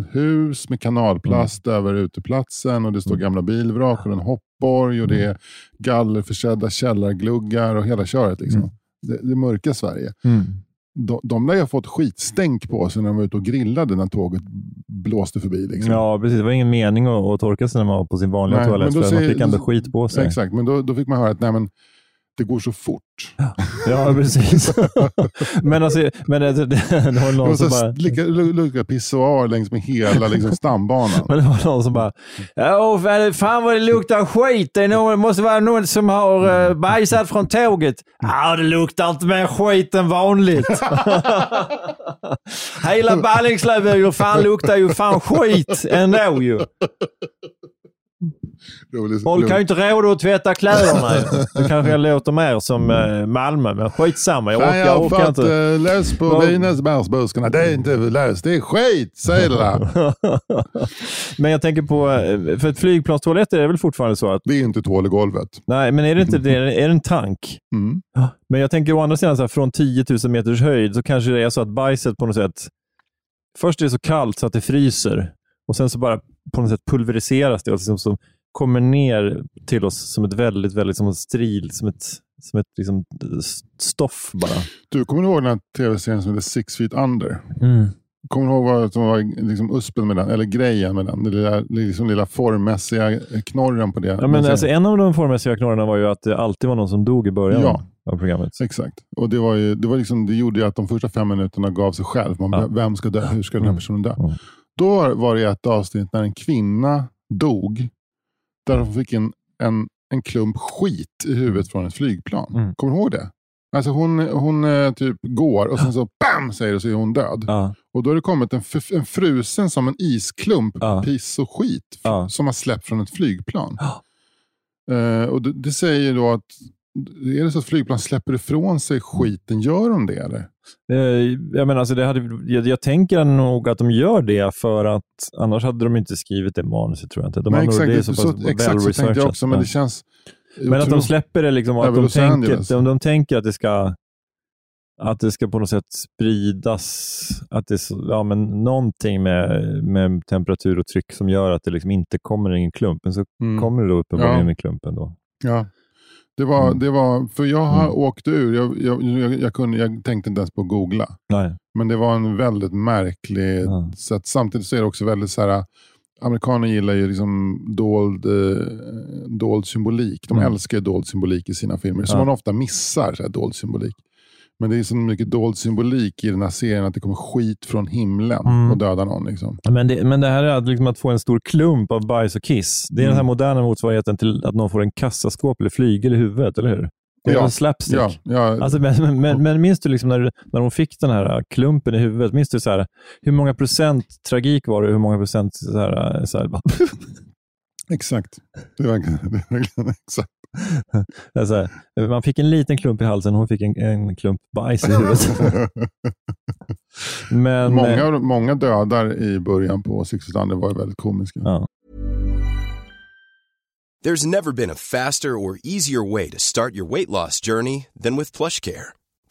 Speaker 3: ett hus med kanalplast över uteplatsen och det står
Speaker 2: Mm.
Speaker 3: gamla bilvrak och en hoppborg och det är gallerförsedda källargluggar och hela köret. Liksom.
Speaker 2: Mm.
Speaker 3: Det, det mörka Sverige.
Speaker 2: Mm.
Speaker 3: De, de lär ju ha fått skitstänk på sig när de var ute och grillade när tåget blåste förbi. Liksom.
Speaker 2: Ja, precis. Det var ingen mening att, att torka sig när man var på sin vanliga
Speaker 3: Nej,
Speaker 2: toalett,
Speaker 3: men
Speaker 2: för
Speaker 3: då
Speaker 2: man
Speaker 3: säger-
Speaker 2: fick ändå
Speaker 3: då-
Speaker 2: skit på sig.
Speaker 3: Exakt, men då, då fick man höra att nej, men, det går så fort.
Speaker 2: Ja, precis. men alltså, men alltså, det, det var
Speaker 3: Det
Speaker 2: någon som bara...
Speaker 3: var pissoar längs med hela liksom, stambanan.
Speaker 2: Men det var någon som bara, Åh, vad- fan vad det luktar skit. Det är någon, det måste vara någon som har eh,
Speaker 3: Mm.
Speaker 2: bajsat från tåget. Ja, det luktar inte mer skit än vanligt. Hela Ballingslöv är ju fan luktar ju fan skit ändå ju.
Speaker 3: Rolig-
Speaker 2: Folk har ju inte råd att tvätta kläderna. ju. Då kanske jag låter mer som eh, Malmö, men skitsamma. Jag orkar,
Speaker 3: Nej, jag
Speaker 2: jag
Speaker 3: har
Speaker 2: orkar
Speaker 3: fått
Speaker 2: inte.
Speaker 3: eh, löss på
Speaker 2: Vad-
Speaker 3: vinäsbärsbuskarna. Det är inte löss, det är skit, säger det där.
Speaker 2: men jag tänker på, eh, för ett flygplanstoaletter är väl fortfarande så att,
Speaker 3: Det är inte tål i golvet.
Speaker 2: nej, men är det inte det? Är det en tank?
Speaker 3: Mm.
Speaker 2: Men jag tänker å andra sidan, så här, från 10 000 meters höjd så kanske det är så att bajset på något sätt... Först är det så kallt så att det fryser och sen så bara på något sätt pulveriseras det och liksom, som kommer ner till oss som ett väldigt, väldigt som en stril, som ett, som ett liksom, stoff bara.
Speaker 3: Du, kommer du ihåg den här tv-serien som heter Six Feet Under? Kommer du ihåg vad som var liksom uspen med den? Eller grejen med den? Den lilla, liksom lilla formmässiga knorren på det.
Speaker 2: Ja, men, alltså, en av de formmässiga knorrarna var ju att det alltid var någon som dog i början
Speaker 3: Ja.
Speaker 2: av programmet.
Speaker 3: Exakt. Och det, var ju, det, var liksom, det gjorde ju att de första fem minuterna gav sig själv. Man,
Speaker 2: Ja.
Speaker 3: Vem ska dö? Hur ska den här
Speaker 2: Mm.
Speaker 3: personen dö?
Speaker 2: Mm.
Speaker 3: Då var- var det ett avsnitt när en kvinna dog. Där hon fick en, en, en klump skit i huvudet från ett flygplan.
Speaker 2: Mm.
Speaker 3: Kommer du ihåg det? Alltså hon, hon eh, typ går och sen så bam säger det så är hon död.
Speaker 2: Ja,
Speaker 3: Och då har det kommit en, f- en frusen som en isklump
Speaker 2: Ja.
Speaker 3: piss och skit f-
Speaker 2: Ja.
Speaker 3: som har släppt från ett flygplan.
Speaker 2: Ja.
Speaker 3: Eh, och det, det säger då att är det så att flygplan släpper ifrån sig skiten, gör de det eller?
Speaker 2: Eh, Jag, menar, alltså det hade, jag, jag tänker nog att de gör det för att annars hade de inte skrivit det manuset tror jag inte. De har
Speaker 3: Nej,
Speaker 2: nog- det är så
Speaker 3: så,
Speaker 2: pass
Speaker 3: exakt så tänkte jag
Speaker 2: välresearchat.
Speaker 3: också, men det känns...
Speaker 2: Men att de
Speaker 3: otroligt-
Speaker 2: släpper det liksom, och att
Speaker 3: Över
Speaker 2: de
Speaker 3: Los Angeles.
Speaker 2: tänker, om de tänker att det ska att det ska på något sätt spridas, att det är så, ja, men någonting med, med temperatur och tryck som gör att det liksom inte kommer in i klumpen. Så
Speaker 3: Mm.
Speaker 2: kommer det då uppenbarligen
Speaker 3: Ja.
Speaker 2: in i klumpen då.
Speaker 3: Ja. Det var,
Speaker 2: Mm.
Speaker 3: det var, för jag har
Speaker 2: Mm.
Speaker 3: åkt ur, jag, jag, jag, jag, kunde, jag tänkte inte ens på att googla.
Speaker 2: Nej.
Speaker 3: Men det var en väldigt märklig
Speaker 2: Ja.
Speaker 3: sätt. Samtidigt så är det också väldigt så här. Amerikaner gillar ju liksom dold, eh, dold symbolik. De
Speaker 2: Mm.
Speaker 3: älskar ju dold symbolik i sina filmer. Som
Speaker 2: Ja.
Speaker 3: man ofta missar, så här, dold symbolik. Men det är så mycket dold symbolik i den här serien att det kommer skit från himlen
Speaker 2: Mm.
Speaker 3: och dödar någon. Liksom.
Speaker 2: Men det, men det här är att liksom att få en stor klump av bajs och kiss. Det är den här
Speaker 3: Mm.
Speaker 2: moderna motsvarigheten till att någon får en kassaskåp eller flygel i huvudet, eller hur? Det är
Speaker 3: Ja.
Speaker 2: en slapstick.
Speaker 3: Ja, ja,
Speaker 2: Alltså, men, men, men minns du liksom när, när hon fick den här äh, klumpen i huvudet, minns du så här, hur många procent tragik var det och hur många procent så här, äh, så här, bara-
Speaker 3: exakt. Det är verkligen, det är verkligen exakt.
Speaker 2: så här, man fick en liten klump i halsen, hon fick en, en klump bajs i huvudet. men, eh,
Speaker 3: många, många dödar i början på Six Feet Under var ju väldigt komiska.
Speaker 2: ja.
Speaker 4: There's never been a faster or easier way to start your weight loss journey than with PlushCare.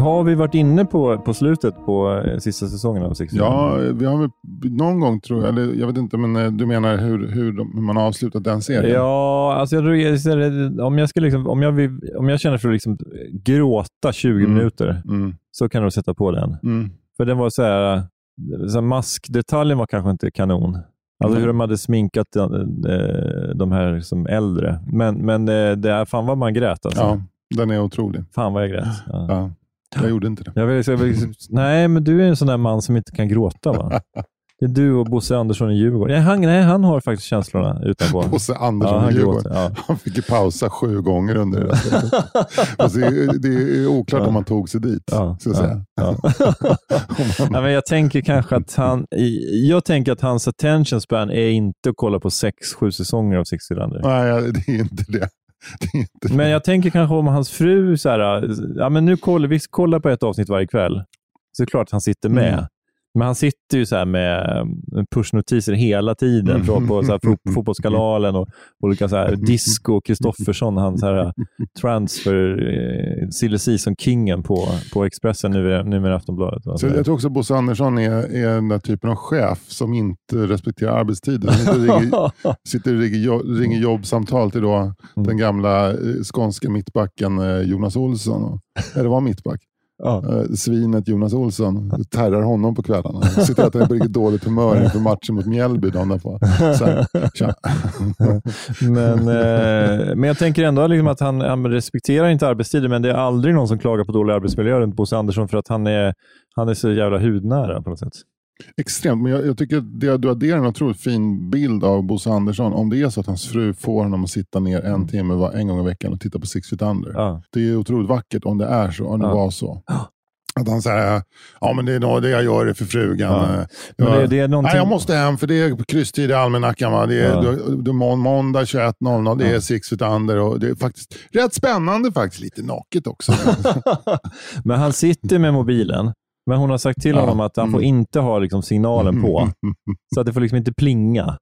Speaker 2: Har vi varit inne på, på slutet på eh, sista säsongen av Six Feet
Speaker 3: Ja,
Speaker 2: Under?
Speaker 3: vi har väl någon gång tror jag, eller jag vet inte, men eh, du menar hur, hur, de, hur man har avslutat den serien?
Speaker 2: Ja, alltså jag, tror- jag- så- om, jag ska liksom, om, jag vill, om jag känner för att liksom gråta 20
Speaker 3: Mm.
Speaker 2: minuter
Speaker 3: Mm,
Speaker 2: så kan du sätta på den.
Speaker 3: mm,
Speaker 2: För den var så här, så här maskdetaljen var kanske inte kanon. Alltså
Speaker 3: Mm.
Speaker 2: hur de hade sminkat de, de här som äldre. Men, men eh, det är, fan vad man grät alltså.
Speaker 3: ja, den är otrolig.
Speaker 2: Fan vad jag grät. Ja.
Speaker 3: Ja, jag gjorde inte det.
Speaker 2: Jag vill, jag vill, liksom- nej, men du är en sån där man som inte kan gråta va? Det är du och Bosse Andersson i Djurgården. Nej, han, nej, han har faktiskt känslorna utanpå.
Speaker 3: Bosse
Speaker 2: ja,
Speaker 3: Andersson i
Speaker 2: han
Speaker 3: Djurgården.
Speaker 2: gråter. Ja.
Speaker 3: Han fick ju pausa sju gånger under det. alltså, det, är, det är oklart om han tog sig dit.
Speaker 2: Ja,
Speaker 3: ska jag
Speaker 2: ja,
Speaker 3: säga.
Speaker 2: ja. Nej, men jag tänker kanske att han, i- jag tänker att hans attention span är inte att kolla på sex, sju säsonger av Six Feet Under.
Speaker 3: Nej, det är inte det. det, är inte det.
Speaker 2: Men jag tänker kanske om hans fru, så här, ja, men nu kollar, vi kollar på ett avsnitt varje kväll. Så är det klart att han sitter med.
Speaker 3: Mm.
Speaker 2: Men han sitter ju så här med eh, pushnotiser hela tiden
Speaker 3: Mm.
Speaker 2: från på så här, fo- fotbollskanalen och olika så här, disco Kristoffersson, han så här, eh, transfer, eh, silly season-kingen på, på Expressen, nu, nu med Aftonbladet. va?
Speaker 3: Så jag tror också att Bosse Andersson är, är den där typen av chef som inte respekterar arbetstiden. Som inte ringer, sitter och ringer, jo- ringer jobbsamtal till då den gamla eh, skånska mittbacken eh, Jonas Olsson. Och- Eller var han mittback?
Speaker 2: ja.
Speaker 3: Eh, Svinet Jonas Olsson terrar honom på kvällarna. Sitter och äter på riktigt dåligt humör inför matchen mot Mjällby dagen därpå. Så här, tja.
Speaker 2: Men, eh, men jag tänker ändå liksom att han, han respekterar inte arbetstider, men det är aldrig någon som klagar på dålig arbetsmiljö runt Bosse Andersson för att han är, han är så jävla hudnära på något sätt.
Speaker 3: Extremt, men jag, jag tycker att det, du adderar en otroligt fin bild av Bosse Andersson. Om det är så att hans fru får honom att sitta ner en timme var, en gång i veckan och titta på Six Feet Under.
Speaker 2: Ja.
Speaker 3: Det är otroligt vackert om det är så, om det
Speaker 2: Ja.
Speaker 3: var så. Att han säger, ja men det är nog det jag gör det för frugan.
Speaker 2: Ja.
Speaker 3: Eh,
Speaker 2: Men
Speaker 3: jag-
Speaker 2: det, det är någonting...
Speaker 3: Nej, jag måste hem för det är krysstid i almanackan. Va? Det är,
Speaker 2: Ja.
Speaker 3: du, du, må- måndag 21.00, det är Six Feet Under och det är faktiskt rätt spännande faktiskt. Lite naket också.
Speaker 2: men han sitter med mobilen, men hon har sagt till
Speaker 3: Ja.
Speaker 2: honom att han får
Speaker 3: Mm.
Speaker 2: inte ha liksom signalen på. Så att det får liksom inte plinga.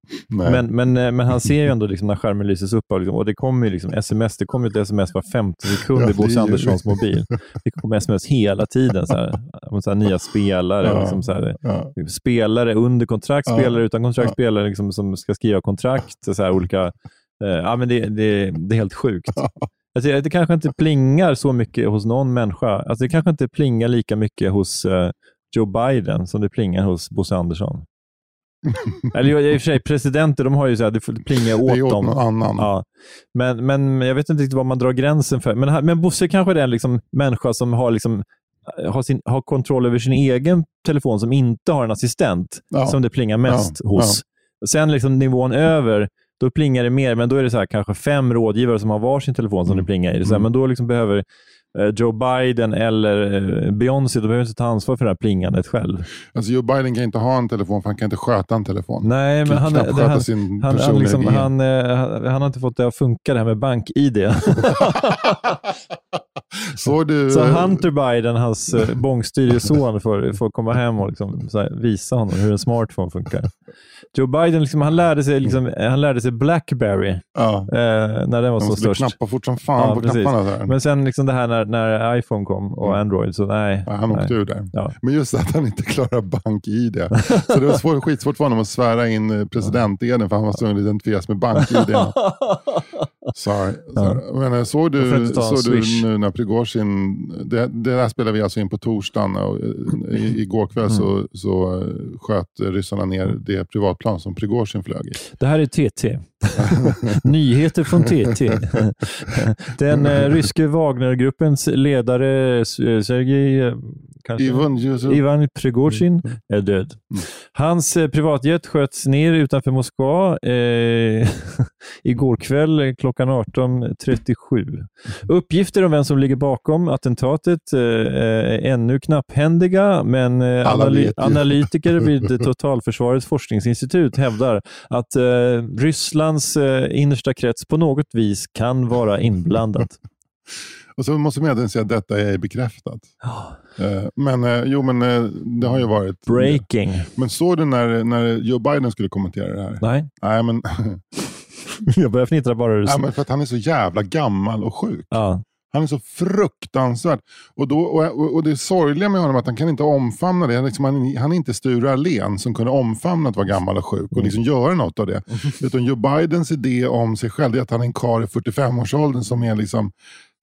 Speaker 3: Nej.
Speaker 2: Men, men, eh, men han ser ju ändå liksom när skärmen lyses upp och, liksom, och det kommer ju liksom sms. Det kommer ju ett sms var 50 sekund
Speaker 3: Ja, det
Speaker 2: i
Speaker 3: är ju-
Speaker 2: Bosse Anderssons mobil. Det kommer sms hela tiden. Så här, om så här, nya spelare,
Speaker 3: Ja.
Speaker 2: liksom så här,
Speaker 3: ja.
Speaker 2: spelare under kontrakt,
Speaker 3: Ja.
Speaker 2: spelare utan kontrakt,
Speaker 3: Ja.
Speaker 2: spelare liksom, som ska skriva kontrakt. Så här, olika, eh, ja, men det, det, det är helt sjukt. Alltså, Jag ser att det kanske inte plingar så mycket hos någon människa. Alltså, det kanske inte plingar lika mycket hos eh, Joe Biden som det plingar hos Bosse Andersson. Eller i och för sig, presidenter de har ju så här, det får plinga
Speaker 3: Det
Speaker 2: åt,
Speaker 3: är åt
Speaker 2: dem.
Speaker 3: någon annan.
Speaker 2: Ja. Men, men jag vet inte riktigt var man drar gränsen för. Men, han- men Bosse kanske är den liksom människa som har, liksom, har, sin, har kontroll över sin egen telefon som inte har en assistent
Speaker 3: Ja.
Speaker 2: som det plingar mest
Speaker 3: Ja.
Speaker 2: hos. Sen liksom nivån över, Då plingar det mer, men då är det så här, kanske fem rådgivare som har varsin telefon
Speaker 3: Mm.
Speaker 2: som det plingar i. Det är Så här, Men då liksom behöver eh, Joe Biden eller eh, Beyoncé, då behöver inte ta ansvar för det här plingandet själv.
Speaker 3: Alltså Joe Biden kan inte ha en telefon för han kan inte sköta en telefon.
Speaker 2: Nej, men
Speaker 3: Kan
Speaker 2: han,
Speaker 3: knappt
Speaker 2: det,
Speaker 3: sköta
Speaker 2: han,
Speaker 3: sin
Speaker 2: han, han,
Speaker 3: personliga
Speaker 2: liksom,
Speaker 3: ID.
Speaker 2: han, eh, han, han har inte fått det att funka det här med bank-id.
Speaker 3: Såg du,
Speaker 2: Så
Speaker 3: eh,
Speaker 2: Hunter Biden, hans eh, bångstyrige son, får, får komma hem och liksom, så här, visa honom hur en smartphone funkar. Joe Biden liksom, han lärde sig, liksom, han lärde sig Blackberry eh,
Speaker 3: ja,
Speaker 2: när den var
Speaker 3: de
Speaker 2: som
Speaker 3: skulle
Speaker 2: störst.
Speaker 3: knappa fort som fan
Speaker 2: Ja,
Speaker 3: på
Speaker 2: precis.
Speaker 3: knapparna. Så här.
Speaker 2: Men sen liksom det här när, när iPhone kom och Android, så nej.
Speaker 3: Ja, han åkte
Speaker 2: nej.
Speaker 3: ur där.
Speaker 2: Ja.
Speaker 3: Men just att han inte klarar bank-id. Så det var svår, skitsvårt för honom att svära in eh, presidenteden för han var tvungen att identifieras med bank-id. Sorry. Sorry. Men eh, såg
Speaker 2: Jag får
Speaker 3: du,
Speaker 2: inte ta en
Speaker 3: såg du
Speaker 2: swish.
Speaker 3: nu när Prigozjin, det, det här spelade vi alltså in på torsdagen och eh, i, igår kväll
Speaker 2: Mm.
Speaker 3: så, så eh, sköt ryssarna ner det privatplan som Prigozjin flög i.
Speaker 2: Det här är TT. Nyheter från TT. Den eh, ryske Wagnergruppens ledare eh, Sergej eh, kanske?
Speaker 3: Ivan Yusuf.
Speaker 2: Ivan Prigozjin är död. Hans eh, privatjet sköts ner utanför Moskva eh, igår kväll eh, klockan 18.37. Uppgifter om vem som ligger bakom attentatet eh, är ännu knapphändiga, men eh,
Speaker 3: Alla
Speaker 2: analy-
Speaker 3: vet ju.
Speaker 2: analytiker vid Totalförsvarets forskningsinstitut hävdar att eh, Rysslands eh, innersta krets på något vis kan vara inblandad.
Speaker 3: Och så måste man egentligen säga att detta är bekräftat. Eh, Men eh, jo, men eh, det har ju varit...
Speaker 2: Breaking.
Speaker 3: Men såg du när, när Joe Biden skulle kommentera det här?
Speaker 2: Nej,
Speaker 3: Nej, men,
Speaker 2: jag börjar fnittra bara. hur du
Speaker 3: nej,
Speaker 2: sa-
Speaker 3: men för att han är så jävla gammal och sjuk.
Speaker 2: Ja,
Speaker 3: Han är så fruktansvärt. Och, då, och, och- och det sorgliga med honom är att han kan inte omfamna det. Han, liksom, han, han är inte Sture Allén som kunde omfamna att vara gammal och sjuk och liksom göra något av det. Utan Joe Bidens idé om sig själv är att han är en karl i 45-årsåldern som är liksom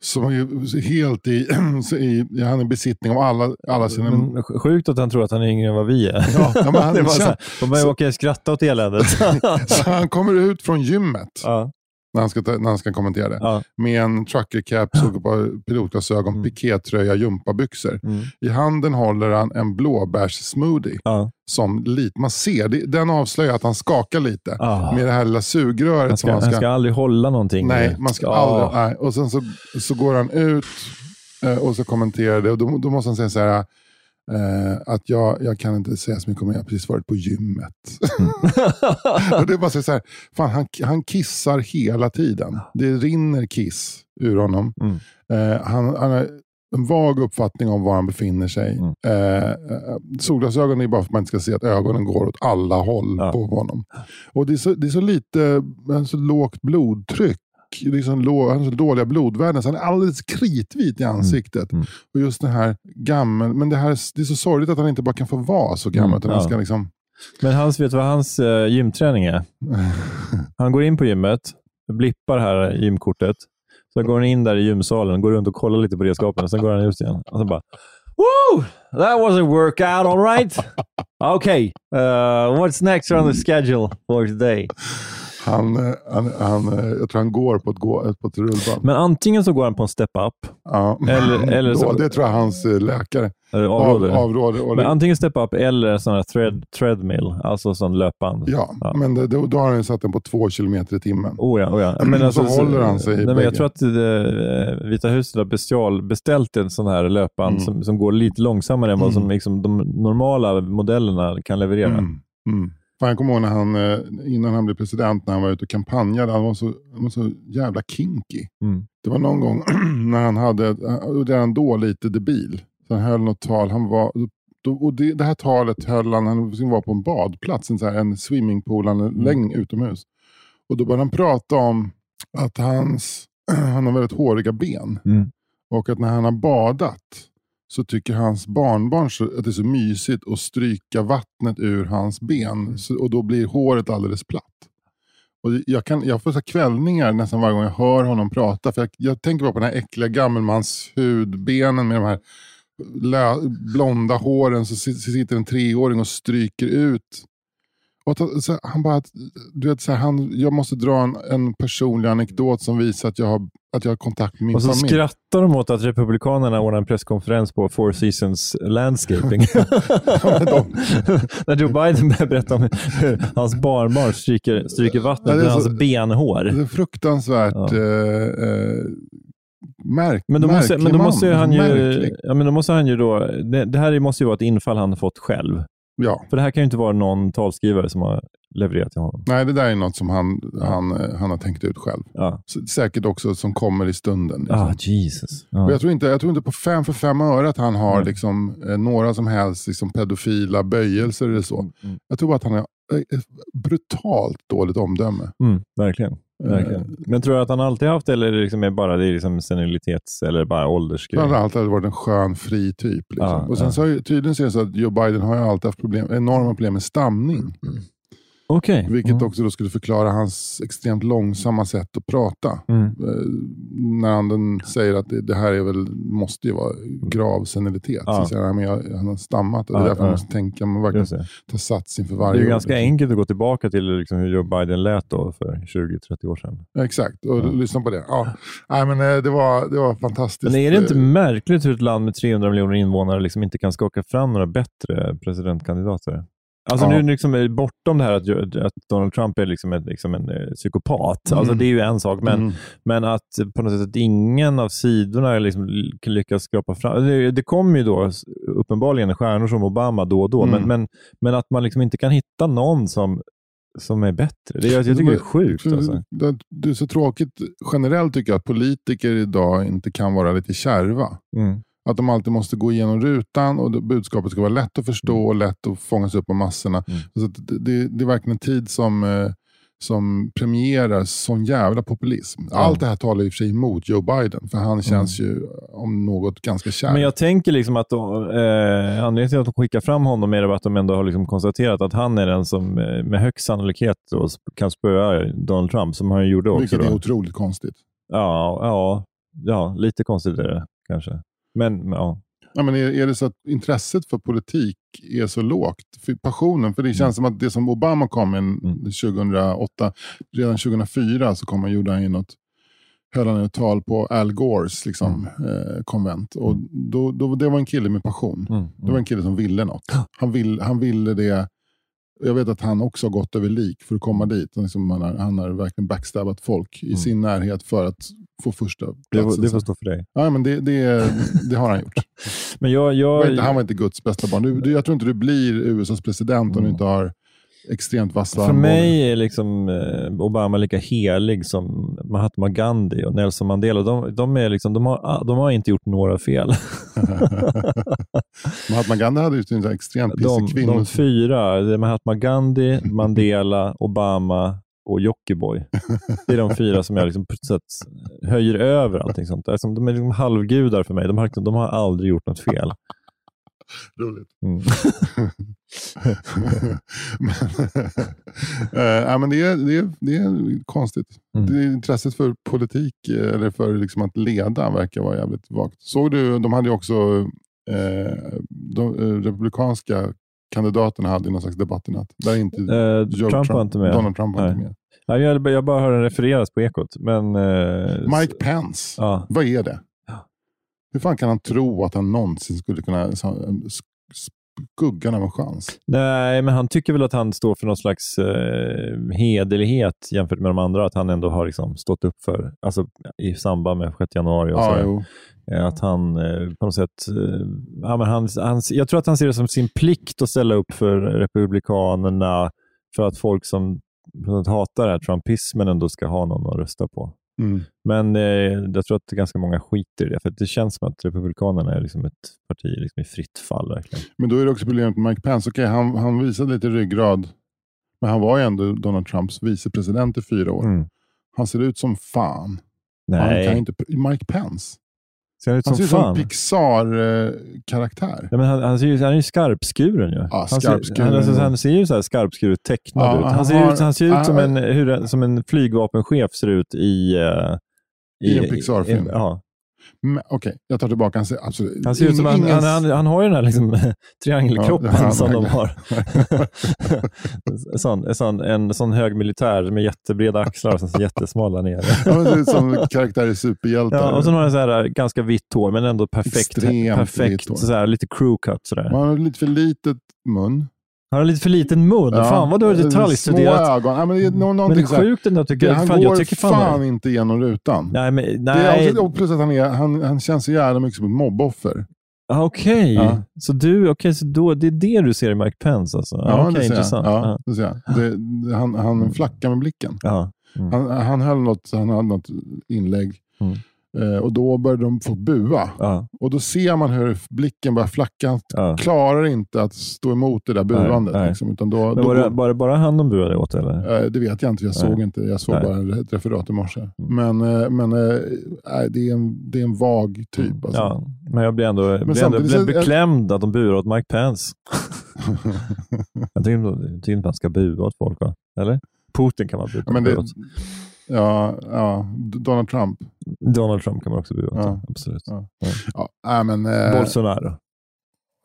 Speaker 3: som är helt i, i, han är i besittning av alla, alla sina...
Speaker 2: Men sj- sjukt att han tror att han är yngre än vad vi är.
Speaker 3: ja, men han,
Speaker 2: Det var
Speaker 3: så
Speaker 2: så här, de började åka och skratta åt eländet.
Speaker 3: så han kommer ut från gymmet
Speaker 2: ja,
Speaker 3: när, han ska, ta- när han ska kommentera det.
Speaker 2: ja.
Speaker 3: med en trucker-caps, och på pilotglasögon,
Speaker 2: Mm.
Speaker 3: pikétröja, gympabyxor.
Speaker 2: Mm.
Speaker 3: I handen håller han en blåbärssmoothie.
Speaker 2: Ja.
Speaker 3: Som lite, man ser, det- den avslöjar att han skakar lite.
Speaker 2: Ah.
Speaker 3: Med det här lilla sugröret.
Speaker 2: Han, ska,
Speaker 3: som
Speaker 2: han ska aldrig hålla någonting.
Speaker 3: nej, man ska
Speaker 2: Ah.
Speaker 3: aldrig. Nej. Och sen så, så går han ut eh, och så kommenterar det. Och då, då måste han säga så här. eh, att jag, jag kan inte säga så mycket om det. Jag har precis varit på gymmet. och det är bara så här, fan, han, han kissar hela tiden. Det rinner kiss ur honom.
Speaker 2: Mm.
Speaker 3: Eh, han, han har en vag uppfattning om var han befinner sig.
Speaker 2: Mm.
Speaker 3: Eh, eh, solglasögon är bara för att man inte ska se att ögonen går åt alla håll
Speaker 2: Ja.
Speaker 3: på honom. Och det är så, det är så lite, han har så lågt blodtryck. Det är så lå, han har så dåliga blodvärden, så han är alldeles kritvit i ansiktet.
Speaker 2: Mm.
Speaker 3: Och just det här gammel, men det, här, det är så sorgligt att han inte bara kan få vara så gammal.
Speaker 2: Mm,
Speaker 3: utan han
Speaker 2: ja.
Speaker 3: ska liksom,
Speaker 2: Men hans, vet du vad hans eh, gymträning är? Han går in på gymmet, blippar här gymkortet. Så går han in där i gymsalen, går runt och kollar lite på redskapen. Sen går han ut igen och så bara Woo! That was a workout, all right. Okay, uh, what's next on the schedule for today?
Speaker 3: han, eh, han, han, eh, jag tror han går på ett, gå, på ett rullband.
Speaker 2: Men antingen så går han på en step-up,
Speaker 3: ja.
Speaker 2: eller- eller
Speaker 3: Då,
Speaker 2: så-
Speaker 3: det tror jag hans eh, läkare
Speaker 2: eller
Speaker 3: av,
Speaker 2: avråder.
Speaker 3: avråder. Och
Speaker 2: Men
Speaker 3: det,
Speaker 2: antingen step-up eller en sån här thread, treadmill, alltså sån löpband.
Speaker 3: ja,
Speaker 2: Ja.
Speaker 3: men det, då, då har han ju satt den på två kilometer i timmen.
Speaker 2: Oh ja, oh ja.
Speaker 3: Så håller han sig i
Speaker 2: nej, men
Speaker 3: bägge.
Speaker 2: Jag tror att eh, Vita huset har specialbeställt en sån här löpband
Speaker 3: Mm.
Speaker 2: som, som går lite långsammare än vad som liksom, de normala modellerna kan leverera.
Speaker 3: Mm. Mm. Fan, jag kommer ihåg när han, eh, innan han blev president, när han var ute och kampanjade. Han var så, han var så jävla kinky.
Speaker 2: Mm.
Speaker 3: Det var någon gång när han hade, och redan då lite debil. Så han höll något tal. Han var, då- och det, det här talet höll han, han var på en badplats, en, så här, en
Speaker 2: Mm.
Speaker 3: swimmingpoolanläggning utomhus. Och då började han prata om att hans, han har väldigt håriga ben.
Speaker 2: Mm.
Speaker 3: Och att när han har badat så tycker hans barnbarn så, att det är så mysigt att stryka vattnet ur hans
Speaker 2: Mm.
Speaker 3: ben. Så, och då blir håret alldeles platt. Och jag, kan, jag får så här kvällningar nästan varje gång jag hör honom prata. För jag, jag tänker bara på den här äckliga gammelmanshudbenen med de här lö, blonda håren. Så sit- så sitter en treåring och stryker ut. Och att, så, här, han bara, att- du vet, så här, han, jag måste dra en, en personlig anekdot som visar att jag har att jag har kontakt med min
Speaker 2: Och så
Speaker 3: familj.
Speaker 2: skrattar de åt att Republikanerna ordnar en presskonferens på Four Seasons Landscaping. När Joe Biden berättar om hur hans barnbarn stryker, stryker
Speaker 3: Ja,
Speaker 2: vattnet
Speaker 3: det är
Speaker 2: ur
Speaker 3: så-
Speaker 2: hans benhår.
Speaker 3: Det är fruktansvärt
Speaker 2: Ja.
Speaker 3: eh, eh, märk,
Speaker 2: Men då, måste,
Speaker 3: märklig
Speaker 2: men då måste ju
Speaker 3: man.
Speaker 2: han ju...
Speaker 3: Märklig.
Speaker 2: Ja, men då måste han ju då... Det, det här måste ju vara ett infall han fått själv.
Speaker 3: Ja.
Speaker 2: För det här kan ju inte vara någon talskrivare som har levererat till honom.
Speaker 3: Nej, det där är något som han, han, eh, han har tänkt ut själv.
Speaker 2: Ja.
Speaker 3: S- Säkert också som kommer i stunden. Liksom.
Speaker 2: Ah, Jesus. Ja. Mm.
Speaker 3: Och jag, tror inte, jag tror inte på fem för fem öre att han har
Speaker 2: Nej.
Speaker 3: liksom, eh, några som helst liksom, pedofila böjelser eller så.
Speaker 2: Mm,
Speaker 3: Jag tror att han har eh, ett brutalt dåligt omdöme.
Speaker 2: Mm, verkligen.
Speaker 3: Eh,
Speaker 2: verkligen. Men tror du att han alltid haft det eller är det liksom är bara det är liksom senilitets eller bara åldersgrej?
Speaker 3: Framförallt hade det varit en skön, fri typ. Liksom.
Speaker 2: Ja,
Speaker 3: och sen
Speaker 2: Ah, ja.
Speaker 3: så har ju, tydligen så är det så att Joe Biden har ju alltid haft problem, enorma problem med stamning.
Speaker 2: Okej.
Speaker 3: Vilket
Speaker 2: Mm.
Speaker 3: också då skulle förklara hans extremt långsamma sätt att prata.
Speaker 2: Mm.
Speaker 3: Eh, när han den säger att det, det här är väl, måste ju vara grav senilitet.
Speaker 2: Ja.
Speaker 3: Så säger han, "Nej, men jag, han har stammat och det är
Speaker 2: Ja,
Speaker 3: därför man
Speaker 2: ja.
Speaker 3: måste tänka, man verkligen
Speaker 2: Just det.
Speaker 3: ta sats inför
Speaker 2: det
Speaker 3: varje
Speaker 2: är ju
Speaker 3: ord,
Speaker 2: ganska
Speaker 3: liksom.
Speaker 2: enkelt att gå tillbaka till liksom hur Joe Biden lät då för 20-30 år sedan.
Speaker 3: Ja, Exakt, och
Speaker 2: Ja.
Speaker 3: lyssna på det. Ja. Nej, men, eh, det, var, det var fantastiskt.
Speaker 2: Men är det inte
Speaker 3: Eh,
Speaker 2: märkligt hur ett land med 300 miljoner invånare liksom inte kan skaka fram några bättre presidentkandidater? Alltså
Speaker 3: Ja.
Speaker 2: nu är det liksom är bortom det här att, att Donald Trump är liksom en, liksom en eh, psykopat. Alltså
Speaker 3: Mm.
Speaker 2: det är ju en sak, men,
Speaker 3: mm.
Speaker 2: men att på något sätt att ingen av sidorna liksom ly- lyckas skrapa fram. Det, det kommer ju då s- uppenbarligen stjärnor som Obama då och då,
Speaker 3: Mm.
Speaker 2: men, men, men att man liksom inte kan hitta någon som, som är bättre. Det, jag, jag
Speaker 3: Mm.
Speaker 2: tycker det är sjukt.
Speaker 3: För-
Speaker 2: Alltså.
Speaker 3: det, det är så tråkigt generellt tycker jag att politiker idag inte kan vara lite kärva.
Speaker 2: Mm.
Speaker 3: Att de alltid måste gå igenom rutan och det, budskapet ska vara lätt att förstå och lätt att fångas upp av massorna.
Speaker 2: Mm.
Speaker 3: Så att det, det, det är verkligen en tid som, eh, som premierar sån jävla populism. Allt det här talar i och för sig emot Joe Biden, för han känns ju om något ganska kär.
Speaker 2: Mm. Men jag tänker liksom att de, eh, anledningen till att de skickar fram honom är det att de ändå har liksom konstaterat att han är den som eh, med högst sannolikhet då, sp- kan spöa Donald Trump, som han ju gjorde också.
Speaker 3: Vilket är
Speaker 2: Då.
Speaker 3: otroligt konstigt.
Speaker 2: Ja, ja, ja, lite konstigt är det kanske. Men men, ja.
Speaker 3: Ja, men är, är det så att intresset för politik är så lågt? För passionen? För det känns som att det som Obama kom in
Speaker 2: Mm.
Speaker 3: 2008, redan 2004 så kom han, gjorde han ju något, höll han ett tal på Al Gores liksom, eh, konvent. Och då, då, det var en kille med passion.
Speaker 2: Mm,
Speaker 3: Det var
Speaker 2: mm.
Speaker 3: en kille som ville något. Han, vill, han ville det. Jag vet att han också har gått över lik för att komma dit. Han, liksom, han, har, han har verkligen backstabbat folk i
Speaker 2: Mm.
Speaker 3: sin närhet för att få första
Speaker 2: Det, får-
Speaker 3: platsen.
Speaker 2: det får stå för dig.
Speaker 3: ja, men det, det, det har han gjort.
Speaker 2: Men jag,
Speaker 3: Han var
Speaker 2: jag,
Speaker 3: inte, han var inte Guds bästa barn. Du, du, jag tror inte du blir USAs president om du inte har extremt vassa
Speaker 2: för
Speaker 3: armbågar.
Speaker 2: mig är liksom eh, Obama lika helig som Mahatma Gandhi och Nelson Mandela. De, de, är liksom, de, har, de har inte gjort några fel.
Speaker 3: Mahatma Gandhi hade ju en sån här extremt
Speaker 2: De,
Speaker 3: pissig
Speaker 2: de
Speaker 3: kvinna.
Speaker 2: fyra, det är Mahatma Gandhi, Mandela, Obama och Jockiboi. Det är de fyra som jag liksom på ett sätt höjer över allting sånt där. Som- De är liksom halvgudar för mig. De har, liksom- de har aldrig gjort något fel.
Speaker 3: Roligt.
Speaker 2: Mm.
Speaker 3: men, eh, ja, men det, är, det, är, det är konstigt.
Speaker 2: Mm.
Speaker 3: Det är intresset för politik, eh, eller för liksom att leda, verkar vara jävligt vagt. Såg du, de hade ju också, eh, de eh, republikanska kandidaterna hade ju någon slags debatt i natt. Där inte
Speaker 2: Eh, Trump var inte med.
Speaker 3: Donald Trump var inte
Speaker 2: Nej.
Speaker 3: med.
Speaker 2: Nej, jag, jag bara hör den refereras på Ekot. Men, eh,
Speaker 3: Mike
Speaker 2: s-
Speaker 3: Pence.
Speaker 2: Ja,
Speaker 3: Vad är det?
Speaker 2: Ja.
Speaker 3: Hur fan kan han tro att han någonsin skulle kunna um, skuggan av en chans?
Speaker 2: nej, men han tycker väl att han står för någon slags eh, hederlighet jämfört med de andra. Att han ändå har liksom stått upp för, alltså i samband med 6 januari och sådär.
Speaker 3: jo.
Speaker 2: Eh, Att han eh, på något sätt... eh, Ja, men han, han, jag tror att han ser det som sin plikt att ställa upp för Republikanerna för att folk som på något sätt hatar det här trumpismen ändå ska ha någon att rösta på.
Speaker 3: Mm.
Speaker 2: Men eh, jag tror att ganska många skiter i det, för att det känns som att Republikanerna är liksom ett parti liksom i fritt fall. Verkligen.
Speaker 3: Men då är det också problemet med Mike Pence. Okej, han, han visade lite ryggrad. Men han var ju ändå Donald Trumps vicepresident i fyra år.
Speaker 2: Mm.
Speaker 3: Han ser ut som fan. Han kan ju
Speaker 2: Nej,
Speaker 3: inte, pr- Mike Pence.
Speaker 2: ser han ut
Speaker 3: Han
Speaker 2: som
Speaker 3: ser ut som
Speaker 2: fan?
Speaker 3: en Pixar-karaktär.
Speaker 2: Nej, men han, han, ser ju, han är ju skarpskuren ju.
Speaker 3: Ja,
Speaker 2: han, ser,
Speaker 3: skarpskuren.
Speaker 2: han, alltså, han ser ju så här skarpskuret tecknad
Speaker 3: Ja,
Speaker 2: ut. Han,
Speaker 3: han
Speaker 2: ser
Speaker 3: har-
Speaker 2: ut. han ser ut som
Speaker 3: han-
Speaker 2: en, hur, en- som en flygvapenchef ser ut i... eh,
Speaker 3: I en Pixar-film.
Speaker 2: i- Ja.
Speaker 3: Men, Okej, jag tar tillbaka. Han ser absolut...
Speaker 2: Han ser ut som han,
Speaker 3: ingen-
Speaker 2: han, han, han har ju den här liksom, triangelkroppen
Speaker 3: Ja, det har han
Speaker 2: som de
Speaker 3: verkligen.
Speaker 2: har. En sån, en, sån, en sån hög militär med jättebreda axlar och sen så jättesmala ner.
Speaker 3: Han ser ut som karaktär i superhjältar.
Speaker 2: Ja, och sen har han så här, eh, ganska vitt hår, men ändå perfekt.
Speaker 3: Extremt vitt hår.
Speaker 2: perfekt så här, lite crew cut. Sådär.
Speaker 3: Och han har lite för litet mun. Eh,
Speaker 2: Han har lite för liten mun. Fan vad du har
Speaker 3: Små
Speaker 2: detaljstuderat.
Speaker 3: ögon. Ja, men det är nå-
Speaker 2: Mm. Men det
Speaker 3: någonting
Speaker 2: är
Speaker 3: så här-
Speaker 2: sjukt ändå tycker
Speaker 3: han
Speaker 2: jag. Fan,
Speaker 3: går
Speaker 2: jag tycker fan,
Speaker 3: fan
Speaker 2: det.
Speaker 3: inte genom rutan.
Speaker 2: Nej, men
Speaker 3: Det är alltså-
Speaker 2: nej.
Speaker 3: också, och plus att han, är, han, han känns så jävla mycket som ett mobboffer.
Speaker 2: Ah, Okej,
Speaker 3: Ja.
Speaker 2: så, du, okay, så då, det är det du ser i Mike Pence alltså? Ja, Mm. Okej,
Speaker 3: det ser jag.
Speaker 2: intressant.
Speaker 3: Ja, det ser jag. Det, det, han, han flackar med blicken.
Speaker 2: Ja.
Speaker 3: Han, han höll något, han hade något inlägg.
Speaker 2: Mm.
Speaker 3: Eh, och då började de få bua.
Speaker 2: Ja,
Speaker 3: Och då ser man hur blicken börjar flacka. Han
Speaker 2: ja.
Speaker 3: klarar inte att stå emot det där buandet.
Speaker 2: nej.
Speaker 3: Liksom, utan då,
Speaker 2: Men
Speaker 3: då
Speaker 2: var det bara, bara han de buade åt eller?
Speaker 3: Eh, Det vet jag inte, jag såg
Speaker 2: Nej.
Speaker 3: inte. Jag såg
Speaker 2: Nej. Mm.
Speaker 3: bara ett referat i morse. Men, eh, men eh, nej, det, är en, det är en vag typ. Alltså.
Speaker 2: Mm. Ja, men jag blev ändå, blev ändå
Speaker 3: samtidigt
Speaker 2: blev
Speaker 3: så-
Speaker 2: beklämd att de burar åt Mike Pence. jag tycker inte- jag tycker inte man ska bua åt folk, va? eller? Putin kan man bua
Speaker 3: Ja, men
Speaker 2: bua
Speaker 3: det,
Speaker 2: åt.
Speaker 3: ja, ja, D- Donald Trump.
Speaker 2: Donald Trump kan man också bua åt,
Speaker 3: Ja.
Speaker 2: absolut.
Speaker 3: Ja. Ja, nej, men, eh,
Speaker 2: Bolsonaro,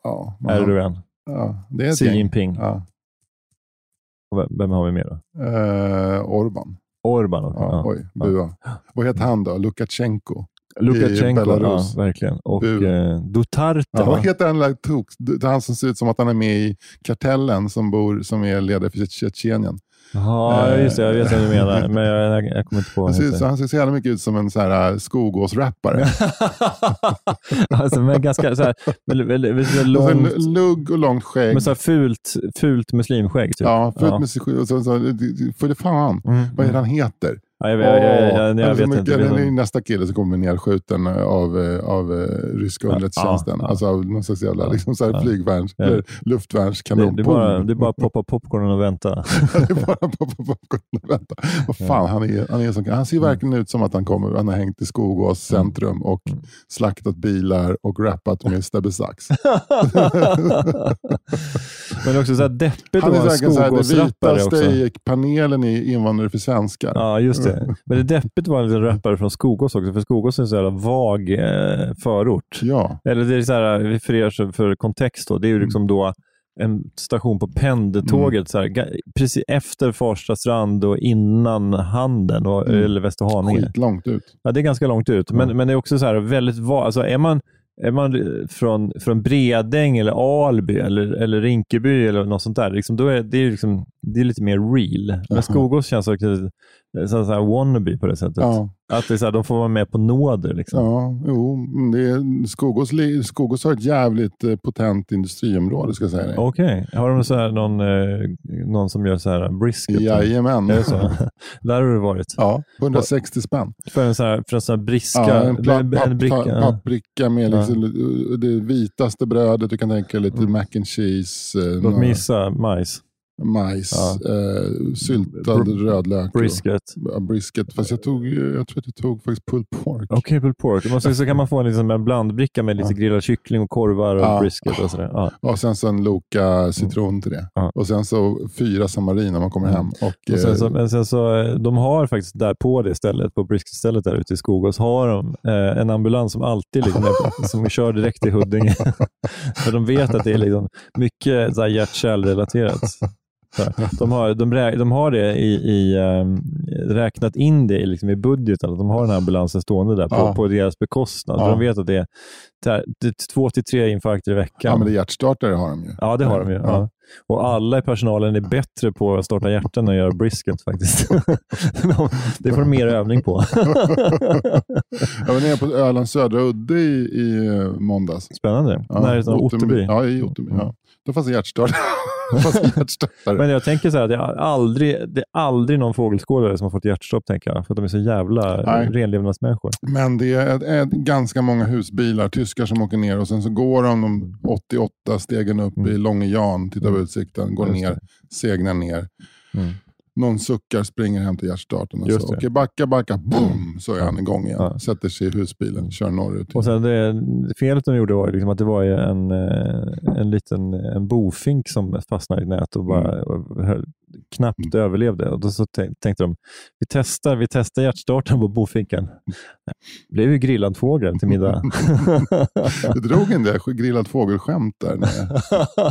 Speaker 3: ja,
Speaker 2: Erdogan,
Speaker 3: ja, det är ett
Speaker 2: Xi
Speaker 3: gäng.
Speaker 2: Jinping.
Speaker 3: Ja,
Speaker 2: Och vem- Vem har vi mer då?
Speaker 3: eh, Orban.
Speaker 2: Orban också.
Speaker 3: Ja,
Speaker 2: Ja.
Speaker 3: Oj, bua. Vad heter han då? Lukasjenko.
Speaker 2: Lukasjenko, ja,
Speaker 3: Belarus.
Speaker 2: verkligen. Och
Speaker 3: Bu.
Speaker 2: eh, Duterte.
Speaker 3: Ja,
Speaker 2: va?
Speaker 3: vad heter den där tok? Det är han som ser ut som att han är med i kartellen som, bor, som är ledare för Tjetjenien.
Speaker 2: ja, just det. Jag vet vad du menar, men jag, jag, jag kommer inte på vad han
Speaker 3: Han ser,
Speaker 2: heter.
Speaker 3: ut- så- han ser så jävla mycket ut som en så här, eh, skogåsrappare.
Speaker 2: alltså, men ganska så här, väldigt, väldigt, väldigt
Speaker 3: Och sen
Speaker 2: långt,
Speaker 3: Lugg och långt skägg.
Speaker 2: men så här fult, fult muslimskägg. Typ.
Speaker 3: ja, fullt med sig själv. Och så, så, för det fan,
Speaker 2: Mm.
Speaker 3: vad är det han heter?
Speaker 2: Ja, jag, jag, jag, jag, jag,
Speaker 3: Alltså,
Speaker 2: vet
Speaker 3: men-
Speaker 2: inte.
Speaker 3: det
Speaker 2: Jag
Speaker 3: är
Speaker 2: vet
Speaker 3: nästa kille som kommer nedskjuten av, eh, av eh, ryska
Speaker 2: Ja,
Speaker 3: underrättelsetjänsten.
Speaker 2: ja, ja.
Speaker 3: Alltså av någon slags jävla
Speaker 2: Ja,
Speaker 3: liksom, så här,
Speaker 2: ja.
Speaker 3: flygvärns,
Speaker 2: Ja.
Speaker 3: eller
Speaker 2: inte. det,
Speaker 3: luftvärnskanon.
Speaker 2: det, är bara,
Speaker 3: Boom!
Speaker 2: det är bara att poppa popcornen och vänta.
Speaker 3: det är bara pop, pop, pop, vänta. Vad fan, han, är, han, är som, han ser verkligen ut som att han, kommer, han har hängt i Skogås centrum och slaktat bilar och rappat med Stebbe Sax.
Speaker 2: Men också så här deppigt att
Speaker 3: Han är
Speaker 2: vara en
Speaker 3: säkert så här, det
Speaker 2: skogåsrappare
Speaker 3: vitaste
Speaker 2: också.
Speaker 3: i panelen i Invandrare för svenskar.
Speaker 2: Ja, just det. Men det är deppigt att vara en liten rappare från Skogås också, för Skogås är en så jävla vag eh, förort.
Speaker 3: Ja.
Speaker 2: Eller det är så här, för er som- för kontext då, det är
Speaker 3: Mm.
Speaker 2: ju liksom då en station på pendeltåget så här, ga- precis efter Farsta strand och innan Handen och,
Speaker 3: Mm.
Speaker 2: eller Västerhaninge.
Speaker 3: Skitlångt ut.
Speaker 2: Ja, det är ganska långt ut, men, men det är också så här väldigt va- alltså, är man är man från, från Bredäng eller Alby eller, eller Rinkeby eller något sånt där, liksom, då är det, ju liksom, det är lite mer real. Men Skogås känns också lite så här wannabe på det sättet.
Speaker 3: Ja,
Speaker 2: Att det är så här, de får vara med på nåder. Liksom.
Speaker 3: ja jo. mm, Det är, Skogås, li- Skogås har ett jävligt eh, potent industriområde, ska jag säga dig.
Speaker 2: Okej, har de så här någon, eh, någon som gör så här brisket?
Speaker 3: Jajamän.
Speaker 2: Är det så? Där har du varit.
Speaker 3: Ja, 160 spänn.
Speaker 2: För en sån här, för en sån här briska.
Speaker 3: Ja, en
Speaker 2: en-
Speaker 3: pla-
Speaker 2: en
Speaker 3: papp-
Speaker 2: bricka.
Speaker 3: pa-
Speaker 2: ja.
Speaker 3: pappbricka med
Speaker 2: Ja. Mm.
Speaker 3: liksom eh, det vitaste brödet du kan tänka dig. Lite mac and cheese, eh,
Speaker 2: Låt mig
Speaker 3: nå-
Speaker 2: gissa. Majs.
Speaker 3: majs,
Speaker 2: Ja.
Speaker 3: eh, syltad
Speaker 2: Br-
Speaker 3: rödlök. och-
Speaker 2: Brisket.
Speaker 3: Ja, brisket. Fast jag, tog, eh, jag tror att jag tog faktiskt pulled pork.
Speaker 2: Okej, pulled pork. Men så, så kan man få en, liksom, en blandbricka med lite grillad kyckling och korvar och
Speaker 3: Ja.
Speaker 2: brisket och sådär. Ja.
Speaker 3: Och sen så en Loka citron till det.
Speaker 2: Mm. Ja. Mm.
Speaker 3: Och sen så fyra samarin när man kommer hem. Och,
Speaker 2: Och sen så,
Speaker 3: eh,
Speaker 2: men sen så, eh, de har faktiskt där på det stället, på brisketstället där ute i Skogås, har de eh, en ambulans som alltid liksom är, som kör direkt till Huddinge. För de vet att det är liksom mycket så här hjärt-kärlrelaterat. Så här, De har, de, rä- de har det i, i, ehm, räknat in det i, liksom i budgeten, att de har den här ambulansen stående där på,
Speaker 3: Ja.
Speaker 2: på deras bekostnad.
Speaker 3: Ja.
Speaker 2: För de vet att det är, det är två till tre infarkter i veckan.
Speaker 3: ja, men det är hjärtstartare har de ju.
Speaker 2: Ja, det har de ju. Ja.
Speaker 3: Ja.
Speaker 2: Och alla i personalen är bättre på att starta hjärtan än att göra brisket faktiskt. De- det får de mer övning på.
Speaker 3: Jag var nere på Ölands södra udde i, i eh, måndags.
Speaker 2: Spännande. Närheten av Otterby. Mm.
Speaker 3: Ja, i Otterby. Ja. Då fanns det hjärtstartare. Då fanns det hjärtstartare.
Speaker 2: Men jag tänker så här, det är aldrig, det är aldrig någon fågelskådare som har fått hjärtstopp, tänker jag. För att de är så jävla
Speaker 3: Nej.
Speaker 2: renlevnadsmänniskor.
Speaker 3: Men det är, ett- ett ganska många husbilar, tyskar som åker ner och sen så går de de 88 stegen upp i Långe Jan, tittar på utsikten, går
Speaker 2: Mm. Just
Speaker 3: ner, segnar ner.
Speaker 2: Mm.
Speaker 3: Någon suckar, springer hem till hjärtstarten och
Speaker 2: Just
Speaker 3: så,
Speaker 2: det.
Speaker 3: okej backa, backa, boom, så är han igång igen.
Speaker 2: Ja.
Speaker 3: Sätter sig i husbilen, kör norrut.
Speaker 2: Och sen det, felet de gjorde var ju liksom att det var
Speaker 3: Mm.
Speaker 2: ju en, eh, en liten en bofink som fastnade i ett nät och bara och höll, knappt överlevde. Och då så tän- tänkte de, vi testar, vi testar hjärtstarten på bofinken. Det blev ju grillad fågel till middag.
Speaker 3: Jag drog en där grillad fågelskämt där nere.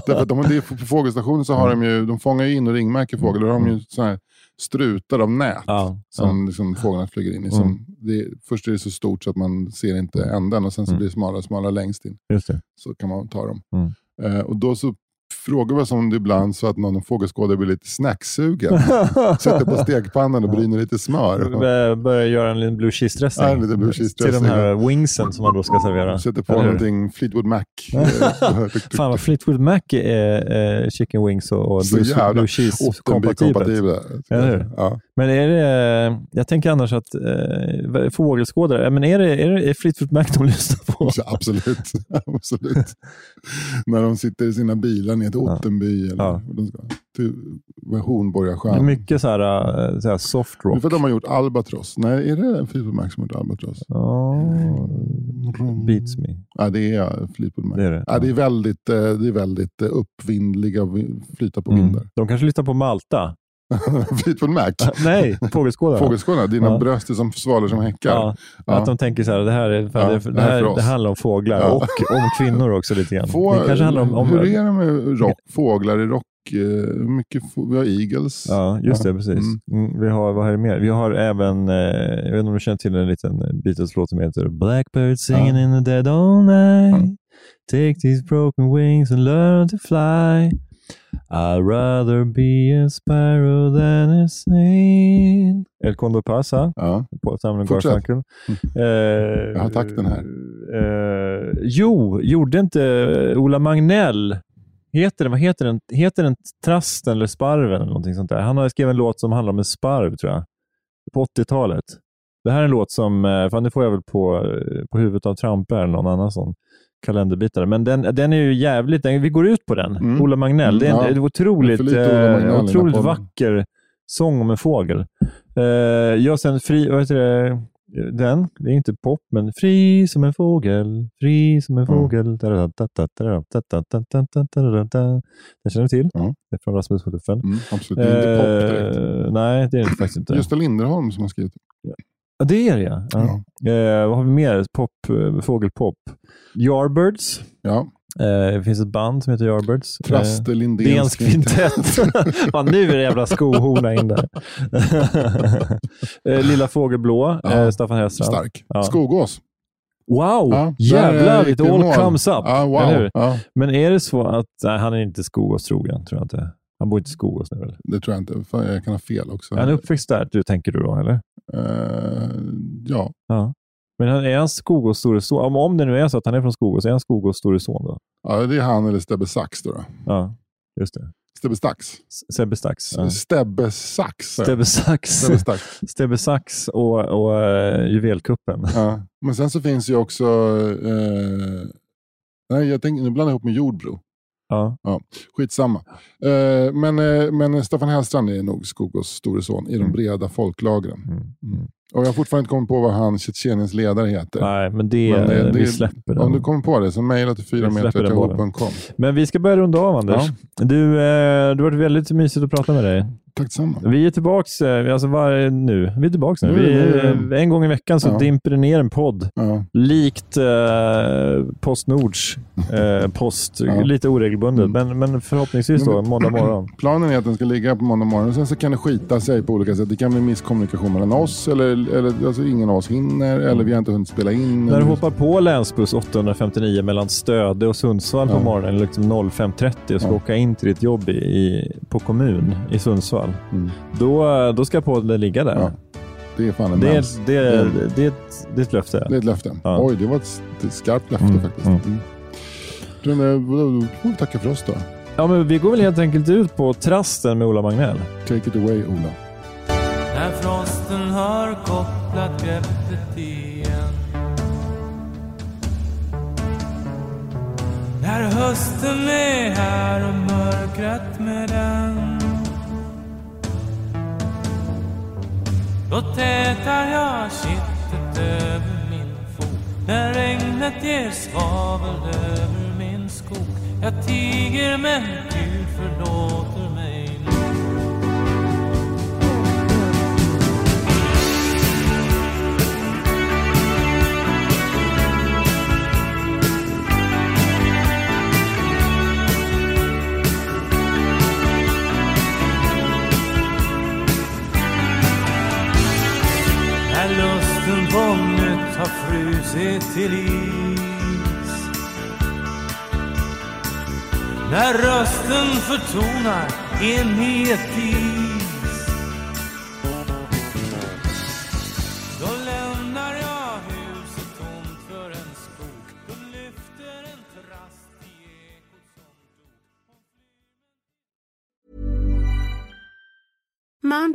Speaker 3: Därför att de, det är på fågelstationen så har de ju, de fångar ju in och ringmärker fåglar. Då har de ju såna här strutar av nät
Speaker 2: ja, Mm.
Speaker 3: som liksom fåglarna flyger in i. Som det, först är det så stort så att man ser inte änden och sen så
Speaker 2: Mm.
Speaker 3: blir det smalare och smalare längst in.
Speaker 2: just det.
Speaker 3: Så kan man ta dem.
Speaker 2: Mm.
Speaker 3: Eh, och då så frågar vi oss om det ibland så att någon fågelskådare blir lite snacksugen. Sätter på stekpannan och bryner lite smör.
Speaker 2: Bör- Börja göra en liten blue cheese dressing.
Speaker 3: Ja, en liten blue cheese
Speaker 2: Till
Speaker 3: dressing.
Speaker 2: de här wingsen som man då ska servera.
Speaker 3: Sätter på
Speaker 2: Eller hur?
Speaker 3: någonting Fleetwood Mac. eh,
Speaker 2: Fan vad Fleetwood Mac är eh, chicken wings och, och
Speaker 3: Så
Speaker 2: blue,
Speaker 3: jävla
Speaker 2: blue cheese kompatibelt.
Speaker 3: Ottenby-kompatibla.
Speaker 2: Eller hur?
Speaker 3: Ja.
Speaker 2: Men är det, jag tänker annars att eh, fågelskådare, ja, men är det, är det är Fleetwood Mac de lyssnar på?
Speaker 3: Så absolut. absolut. När de sitter i sina bilar ner till Ottenby eller
Speaker 2: Ja.
Speaker 3: vad de ska, till vad är
Speaker 2: Det är
Speaker 3: Hornborgasjön.
Speaker 2: mycket så här, eh, så här soft
Speaker 3: Det är
Speaker 2: rock.
Speaker 3: för att de har gjort Albatross. Nej, är det Fleetwood Mac som har gjort Albatross?
Speaker 2: Ja,
Speaker 3: Mm.
Speaker 2: beats me.
Speaker 3: Ja, det är Fleetwood Mac.
Speaker 2: Det är det.
Speaker 3: Ja, det, är väldigt, eh, det är väldigt eh, uppvindliga vi- flyta på
Speaker 2: Mm.
Speaker 3: vindar.
Speaker 2: De kanske lyssnar på Malta.
Speaker 3: Fleetwood Mac.
Speaker 2: Nej, fågelskådare.
Speaker 3: Fågelskålarna, dina
Speaker 2: Ja.
Speaker 3: bröst är som svalor som häckar.
Speaker 2: Ja,
Speaker 3: Ja.
Speaker 2: Att de tänker så här, det här, är,
Speaker 3: Ja,
Speaker 2: det, det,
Speaker 3: är för
Speaker 2: här,
Speaker 3: oss.
Speaker 2: det handlar om fåglar
Speaker 3: Ja.
Speaker 2: och om kvinnor också lite grann.
Speaker 3: Få,
Speaker 2: det kanske handlar om... om
Speaker 3: hur är det med rock, fåglar i rock? eh, Mycket, få- vi har Eagles.
Speaker 2: Ja, just det. Precis.
Speaker 3: Mm.
Speaker 2: Mm. Vi har, vad är det mer? Vi har även, eh, jag vet inte om du känner till en liten Beatles-låt som heter Blackbird singing in the dead of night. Take these broken wings and learn to fly. I'd rather be a sparrow than a snail. El Condo Pasa
Speaker 3: Ja.
Speaker 2: på Simon
Speaker 3: Fortsätt. Mm.
Speaker 2: Garfunkel. Eh, jag
Speaker 3: har takten här.
Speaker 2: Eh, jo, gjorde inte eh, Ola Magnell Heter den, vad heter den? Heter den Trasten eller Sparven eller någonting sånt där? Han har skrivit en låt som handlar om en sparv tror jag. På 80-talet. Det här är en låt som, eh, fan det får jag väl på, eh, på huvudet av Trampe eller någon annan sån kalenderbitare. Men den, den är ju jävligt, den, vi går ut på den.
Speaker 3: Mm.
Speaker 2: Ola Magnell. Det är en,
Speaker 3: Mm, ja.
Speaker 2: det är otroligt,
Speaker 3: Det är för lite Ola
Speaker 2: eh,
Speaker 3: Magnell i den här
Speaker 2: otroligt
Speaker 3: podden.
Speaker 2: vacker sång om en fågel. Eh, jag sen fri, vad heter det? Den, det är inte pop, men fri som en fågel, fri som en
Speaker 3: Mm.
Speaker 2: fågel. Da-da-da-da-da-da-da-da-da-da-da-da. Den känner du till?
Speaker 3: Ja.
Speaker 2: Det är från Rasmus von Luffen.
Speaker 3: Mm, absolut, det är inte pop direkt.
Speaker 2: Eh, nej, det är det faktiskt inte.
Speaker 3: Gösta Linderholm som har skrivit.
Speaker 2: Ja, det är det ja. ja.
Speaker 3: Ja.
Speaker 2: Eh, vad har vi mer? Pop, eh, fågelpop. Yardbirds.
Speaker 3: Ja.
Speaker 2: Eh, det finns ett band som heter Yardbirds. Eh,
Speaker 3: Traste Lindéns
Speaker 2: Dens
Speaker 3: kvintett.
Speaker 2: kvintett. Fan, nu är det jävla skohorna in där. Eh, Lilla Fågelblå,
Speaker 3: Ja.
Speaker 2: eh, Staffan Hellstrand.
Speaker 3: Stark.
Speaker 2: Ja.
Speaker 3: Skogås.
Speaker 2: Wow!
Speaker 3: Ja, där är
Speaker 2: Jävlar, it
Speaker 3: riktigt
Speaker 2: all
Speaker 3: mål.
Speaker 2: comes up.
Speaker 3: Ja,
Speaker 2: eller
Speaker 3: wow.
Speaker 2: hur?
Speaker 3: Ja,
Speaker 2: Men är det så att nej, han är inte Skogås trogen, tror jag inte. Han bor inte i Skogås nu, eller?
Speaker 3: det tror jag inte. Fan, jag kan ha fel också.
Speaker 2: Är Han är uppväxt där, du, tänker du då, eller?
Speaker 3: Eh, ja,
Speaker 2: Ja. Men han- är han Skogås store son? Om, om det nu är så att han är från Skogås, är han Skogås store son då?
Speaker 3: ja, det är han eller Stebbe Sax. Då, då.
Speaker 2: Ja, just det.
Speaker 3: Stebbe Stax.
Speaker 2: S- Sebbe Stax. Ja.
Speaker 3: Stebbe Sax. sa jag.
Speaker 2: Stebbe Sax.
Speaker 3: Stebbe Stax.
Speaker 2: Stebbe Sax och, och eh, Juvelkuppen.
Speaker 3: Ja. Men sen så finns ju också... eh, nej, jag tänker, nu blandar jag ihop med Jordbro.
Speaker 2: Ja.
Speaker 3: Skitsamma. Eh, men, eh, men Staffan Hellstrand är nog Skogås store son i de
Speaker 2: Mm.
Speaker 3: breda folklagren.
Speaker 2: Mm.
Speaker 3: Och jag har fortfarande inte kommit på vad han, Tjetjeniens ledare, heter.
Speaker 2: Nej, men det,
Speaker 3: Men det- det-
Speaker 2: vi släpper
Speaker 3: Om du
Speaker 2: den.
Speaker 3: kommer på det så mejla till
Speaker 2: Jag släpper den bollen.
Speaker 3: 4meter.yahoo.com.
Speaker 2: Men vi ska börja runda av, Anders. Du, eh, det har varit väldigt mysigt att prata med dig.
Speaker 3: Tack detsamma.
Speaker 2: Vi är tillbaka alltså, var, nu. Vi är tillbaka nu.
Speaker 3: Nu,
Speaker 2: Vi,
Speaker 3: nu.
Speaker 2: eh, en gång i veckan så
Speaker 3: Ja.
Speaker 2: dimper det ner en podd.
Speaker 3: Ja,
Speaker 2: Likt eh, Postnords eh, post.
Speaker 3: Ja. Mm.
Speaker 2: Lite oregelbundet, men, men förhoppningsvis då måndag morgon.
Speaker 3: planen är att den ska ligga på måndag morgon. Sen så kan det skita sig på olika sätt. Det kan bli misskommunikation mellan oss. Eller, eller alltså ingen av oss hinner.
Speaker 2: Mm.
Speaker 3: Eller vi har inte hunnit spela in.
Speaker 2: När du
Speaker 3: eller-
Speaker 2: hoppar på länsbuss 859 mellan Stöde och Sundsvall på
Speaker 3: Ja.
Speaker 2: morgonen liksom 05.30 och ska
Speaker 3: Ja.
Speaker 2: åka in till ditt jobb i, i, på kommun i Sundsvall.
Speaker 3: Mm.
Speaker 2: Då, då ska podden ligga där.
Speaker 3: Ja, Det är fan en
Speaker 2: Det,
Speaker 3: mens.
Speaker 2: är, det, är, det, är ett, det är ett löfte.
Speaker 3: Det är ett löfte.
Speaker 2: Ja.
Speaker 3: Oj, det var ett s- ett skarpt löfte
Speaker 2: Mm,
Speaker 3: faktiskt.
Speaker 2: mm.
Speaker 3: Mm. Du, men, Då då får vi tacka för oss då.
Speaker 2: Ja, men vi går väl helt enkelt ut på trasten med Ola Magnell.
Speaker 3: Take it away, Ola.
Speaker 5: När frosten har kopplat greppet igen När hösten är här och mörkret med den Då tätar jag kittet över min fot När regnet ger svavel över min skog Jag tiger men Gud förlåter mig nu När lusten på nytt har frusit till is När rösten förtonar in i ett dis Då lämnar jag huset tomt för en skog Då lyfter en trast i ekot som dog
Speaker 6: Mom